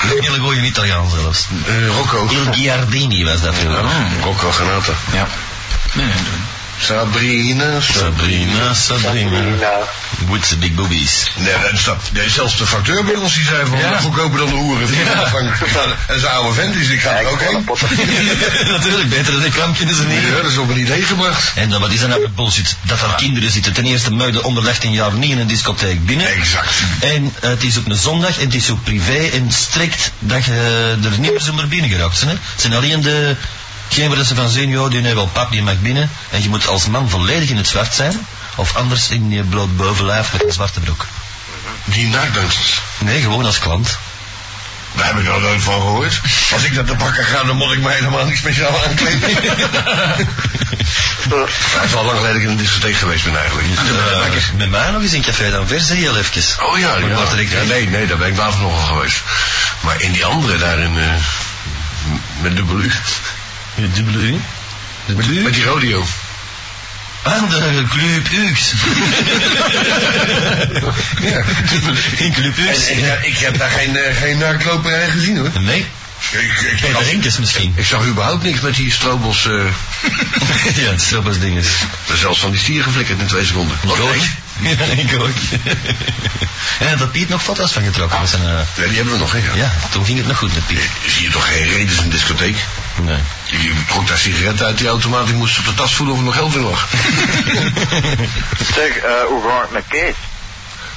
Speaker 1: een hele goeie Italiaan zelfs.
Speaker 2: Eh, Rocco.
Speaker 1: Il Giardini was dat.
Speaker 2: Ja, Rocco Granata.
Speaker 6: Ja. Nee, nee, nee.
Speaker 2: Sabrina,
Speaker 1: Sabrina, Sabrina. With the big boobies.
Speaker 2: Nee, dat is dat. Nee, zelfs de facteur bij ons die zei van,
Speaker 1: Ja.
Speaker 2: goedkoper dan de hoeren. Ja. En zijn oude vent is, ik ga er ook heen.
Speaker 1: Natuurlijk, beter dan een krampje is er niet.
Speaker 2: Ja, dat is op een idee gebracht.
Speaker 1: En dan, wat is dat nou voor bullshit? Dat er kinderen zitten. Ten eerste muiden onder 18 jaar niet in een discotheek binnen.
Speaker 2: Exact.
Speaker 1: En eh, het is op een zondag en het is ook privé en strikt dat je eh, er niet meer zomaar binnen geraakt zijn. Hè? Het zijn alleen de... Geen waar dat ze van zien, joh, die hebben wel pap, die mag binnen. En je moet als man volledig in het zwart zijn. Of anders in je bloot bovenlijf met een zwarte broek.
Speaker 2: Die naakdansers.
Speaker 1: Nee, gewoon als klant.
Speaker 2: Daar heb ik nog nooit van gehoord. Als ik naar de bakker ga, dan moet ik mij helemaal niet speciaal aankleden. Het is al lang geleden dat ik in een discotheek geweest Ah, ben eigenlijk.
Speaker 1: Eh, met mij nog eens in Café Danvers, hè, heel even.
Speaker 2: Oh ja,
Speaker 1: Met
Speaker 2: ja.
Speaker 1: Bart Rikker.
Speaker 2: Ja, nee, nee, daar ben ik later nog wel geweest. Maar in die andere, daar in... eh, m- met dubbel U.
Speaker 1: Je dubbele U?
Speaker 2: Met, met die rodeo.
Speaker 1: Andere Club Ux.
Speaker 2: Ja.
Speaker 1: In Club Ux.
Speaker 2: En, ik, ja, ik heb daar geen, eh, geen naaktloperij gezien hoor.
Speaker 1: Nee,
Speaker 2: Ik, ik,
Speaker 1: bij de
Speaker 2: ik,
Speaker 1: Rinkes misschien.
Speaker 2: ik zag überhaupt niks met die strobels. eh
Speaker 1: ja, het is ding is.
Speaker 2: zelfs van die stier geflikkerd in twee seconden.
Speaker 1: Ik ook. Ja, ik ook. en dat Piet nog foto's van getrokken. met zijn, eh,
Speaker 2: Nee, die hebben we nog, hè? ja.
Speaker 1: ja, toen ging het nog goed met Piet.
Speaker 2: Zie je toch geen reden in een discotheek?
Speaker 1: Nee.
Speaker 2: Je trok daar sigaretten uit die automaat. Ik moest op de tas voelen of er nog geld in lag.
Speaker 5: Zeg, eh, hoe gaat het met Kees?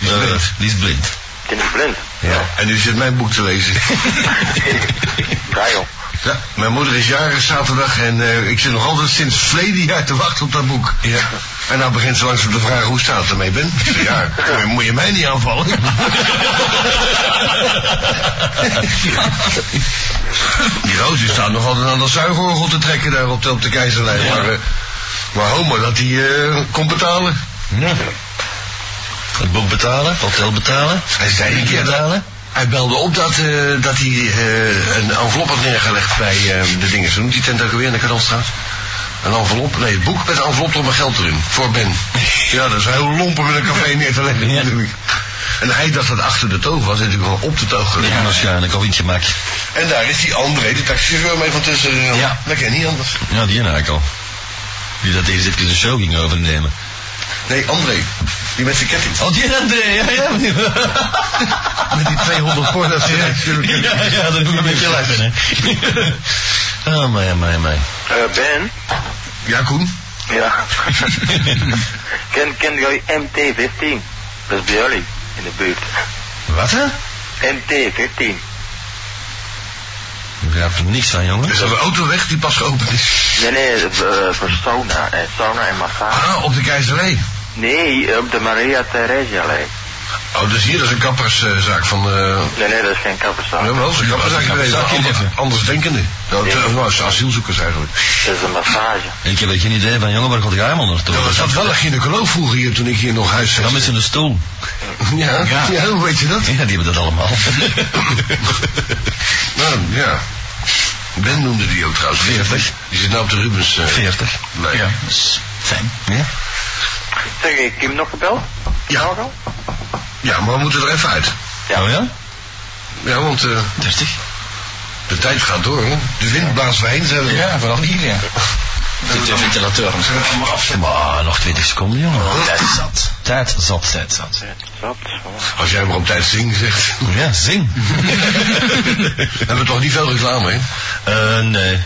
Speaker 1: Eh, die is blind.
Speaker 5: Die is blind.
Speaker 2: Ja. En nu zit mijn boek te lezen.
Speaker 5: Ja, joh.
Speaker 2: Ja, mijn moeder is jarig zaterdag en eh, ik zit nog altijd sinds verleden jaar te wachten op dat boek. Ja. En nou begint ze langzaam te vragen hoe staat het ermee, Ben? Ik zeg, ja, moet je- moet je mij niet aanvallen? Die roos die staat nog altijd aan dat zuigorgel te trekken daar op de, op de keizerlijn. Maar, eh, maar homo, dat hij komt betalen.
Speaker 1: Ja. Het boek betalen, hotel betalen.
Speaker 2: Hij zei een keer dat...
Speaker 1: betalen.
Speaker 2: Hij belde op dat, eh, dat hij eh, een envelop had neergelegd bij eh, de dingen. Zo noemt die tent ook weer in de Kanalstraat. Een envelop, nee, het boek met een envelop op mijn geld erin. Voor Ben. Ja, dat is heel lomp om in een café neer te leggen.
Speaker 1: Ja.
Speaker 2: natuurlijk. En hij dacht dat achter de toog was, hij is natuurlijk gewoon op de toog gelegd.
Speaker 1: Ja, waarschijnlijk, al in het gemak.
Speaker 2: En daar is die André, de taxichauffeur, mee van tussen.
Speaker 1: Ja.
Speaker 2: Dat ken je niet anders.
Speaker 1: Ja, die eigenlijk al. Die dat deze de show ging overnemen.
Speaker 2: Nee, André. Die met zijn ketting.
Speaker 1: Oh, die André, ja, ja.
Speaker 2: Met die 200 porno's. Ja,
Speaker 1: Ja, ja, dat moet ik een beetje lachen, hè. Oh, mij, mij, mij.
Speaker 5: Eh, ben?
Speaker 2: ja Koen.
Speaker 5: Ja. ken, ken jij MT-15? Dat is bij jullie in de buurt.
Speaker 1: Wat, hè?
Speaker 5: MT-15.
Speaker 1: Ik heb er niks van, jongen.
Speaker 2: Is dat een autoweg die pas geopend is?
Speaker 5: Nee, nee, eh, voor sauna. eh, sauna en massage.
Speaker 2: Ah, op de Keizerlee.
Speaker 5: Nee, op de Maria Theresia lijn.
Speaker 2: Oh, dus hier is een kapperszaak van... eh,
Speaker 5: Nee, nee, dat is geen kappersauna.
Speaker 2: Ja, wel, ze kappen zijn geweest.
Speaker 1: Zak in even.
Speaker 2: Anders denkende. Nou,
Speaker 5: Ja.
Speaker 2: te- nou, ze asielzoekers eigenlijk.
Speaker 5: Dat is een massage.
Speaker 1: Ik heb er geen idee van, jongen, waar gaat jij allemaal naartoe?
Speaker 2: Ja, er zat wel een gynaecoloog vroeger hier toen ik hier nog huisvestte.
Speaker 1: Dan met zijn stoel.
Speaker 2: Ja, ja.
Speaker 1: Ja.
Speaker 2: hoe weet je dat?
Speaker 1: Ja, die hebben dat allemaal.
Speaker 2: Nou, ja. Ben noemde die ook trouwens.
Speaker 1: Veertig.
Speaker 2: Die zit nou op de Rubens. eh,
Speaker 1: 40.
Speaker 2: lijn.
Speaker 6: Ja, dat is fijn.
Speaker 1: Ja?
Speaker 5: Zeg, ik heb hem nog gebeld?
Speaker 2: ja.
Speaker 5: Nog al?
Speaker 2: Ja, maar we moeten er even uit.
Speaker 1: Oh ja?
Speaker 2: Ja, want eh,
Speaker 6: 30?
Speaker 2: de tijd gaat door, hè. De wind blaast wijn, zeiden we.
Speaker 6: Ja, vooral hier, ja. Zit de ventilator.
Speaker 1: Maar Ah, nog 20 seconden, jongen.
Speaker 6: Tijd zat.
Speaker 1: Tijd Oh, zat.
Speaker 6: Tijd zat.
Speaker 5: Zat.
Speaker 2: Als jij maar op tijd zingt, zegt.
Speaker 1: Ja, zing.
Speaker 2: We hebben toch niet veel reclame, hè?
Speaker 1: Eh, nee.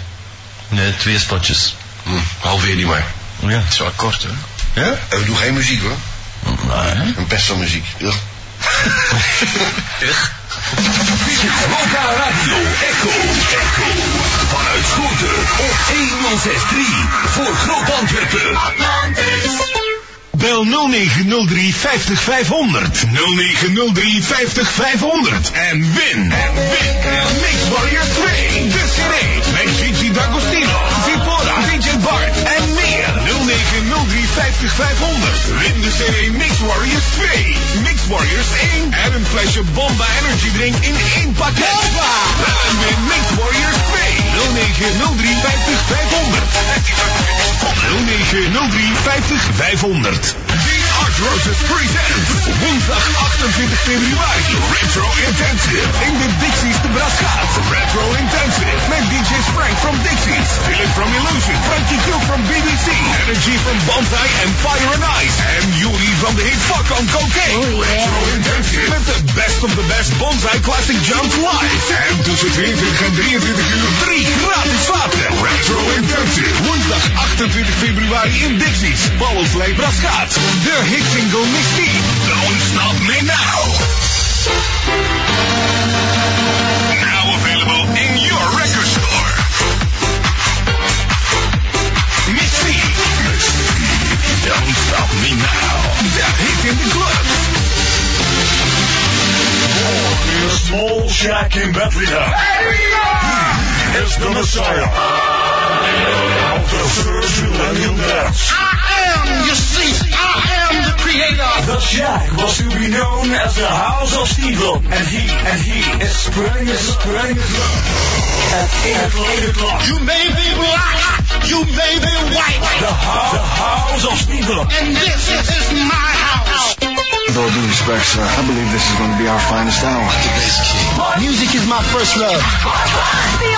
Speaker 1: Nee, twee spotjes.
Speaker 2: Hm, halveer die maar.
Speaker 1: Ja.
Speaker 6: Het is wel kort, Ah, hoor.
Speaker 1: Ja?
Speaker 2: En we doen geen muziek, hoor.
Speaker 1: Nee.
Speaker 2: Een pest van muziek. Ja.
Speaker 7: Loka Radio Echo. Echo. Vanuit Schoten op 1063 voor Groot Antwerpen. Bel 0903 50 500. 0903 50 500. En win. En win. Mix Warrior 2. De CD. Met Gigi D'Agostino. Zipora. DJ Bart. En meer. 0903 50 500. Win de CD Mix Warriors 2. Mix Warriors 1. En een flesje Bomba Energy Drink in één pakket. Bel en win Mix Warriors 2. 0903 50 500. 0903 50 500. The Art Roses present woensdag 28 februari Retro Intensive in de Dixies de Brasgaat. Retro Intensive met DJ's Frank from Dixies, Philip
Speaker 2: from Illusion. Frankie Q from BBC. Energy from Banzai and Fire and Ice. And Yuri from the hit Fuck on Cocaine. Retro Intensive. Met de best of the best Banzai Classic Jumps live. En tussen 20 en 23 uur 3 gratis water. Retro Intensive. Woensdag 28 februari in Dixie's. Ballenslijn Brascaat. De hit single Mystique. Don't stop me now. Now available in your record store. Missy. Don't stop me now. That hit in the club.
Speaker 8: In a small shack in Bethlehem. Is the Messiah. Of the first millennium dance.
Speaker 4: I am, you see, I am the creator.
Speaker 8: The shack was to be known as the House of Stephen. And he, and he is spreading his, spreading his love. At 8 o'clock, 8 o'clock.
Speaker 4: You may be black, you may be white,
Speaker 8: The house, the house of Stephen.
Speaker 4: and this is my house.
Speaker 9: With all due respect, sir, I believe this is going to be our finest hour.
Speaker 4: Music is my first love.
Speaker 10: The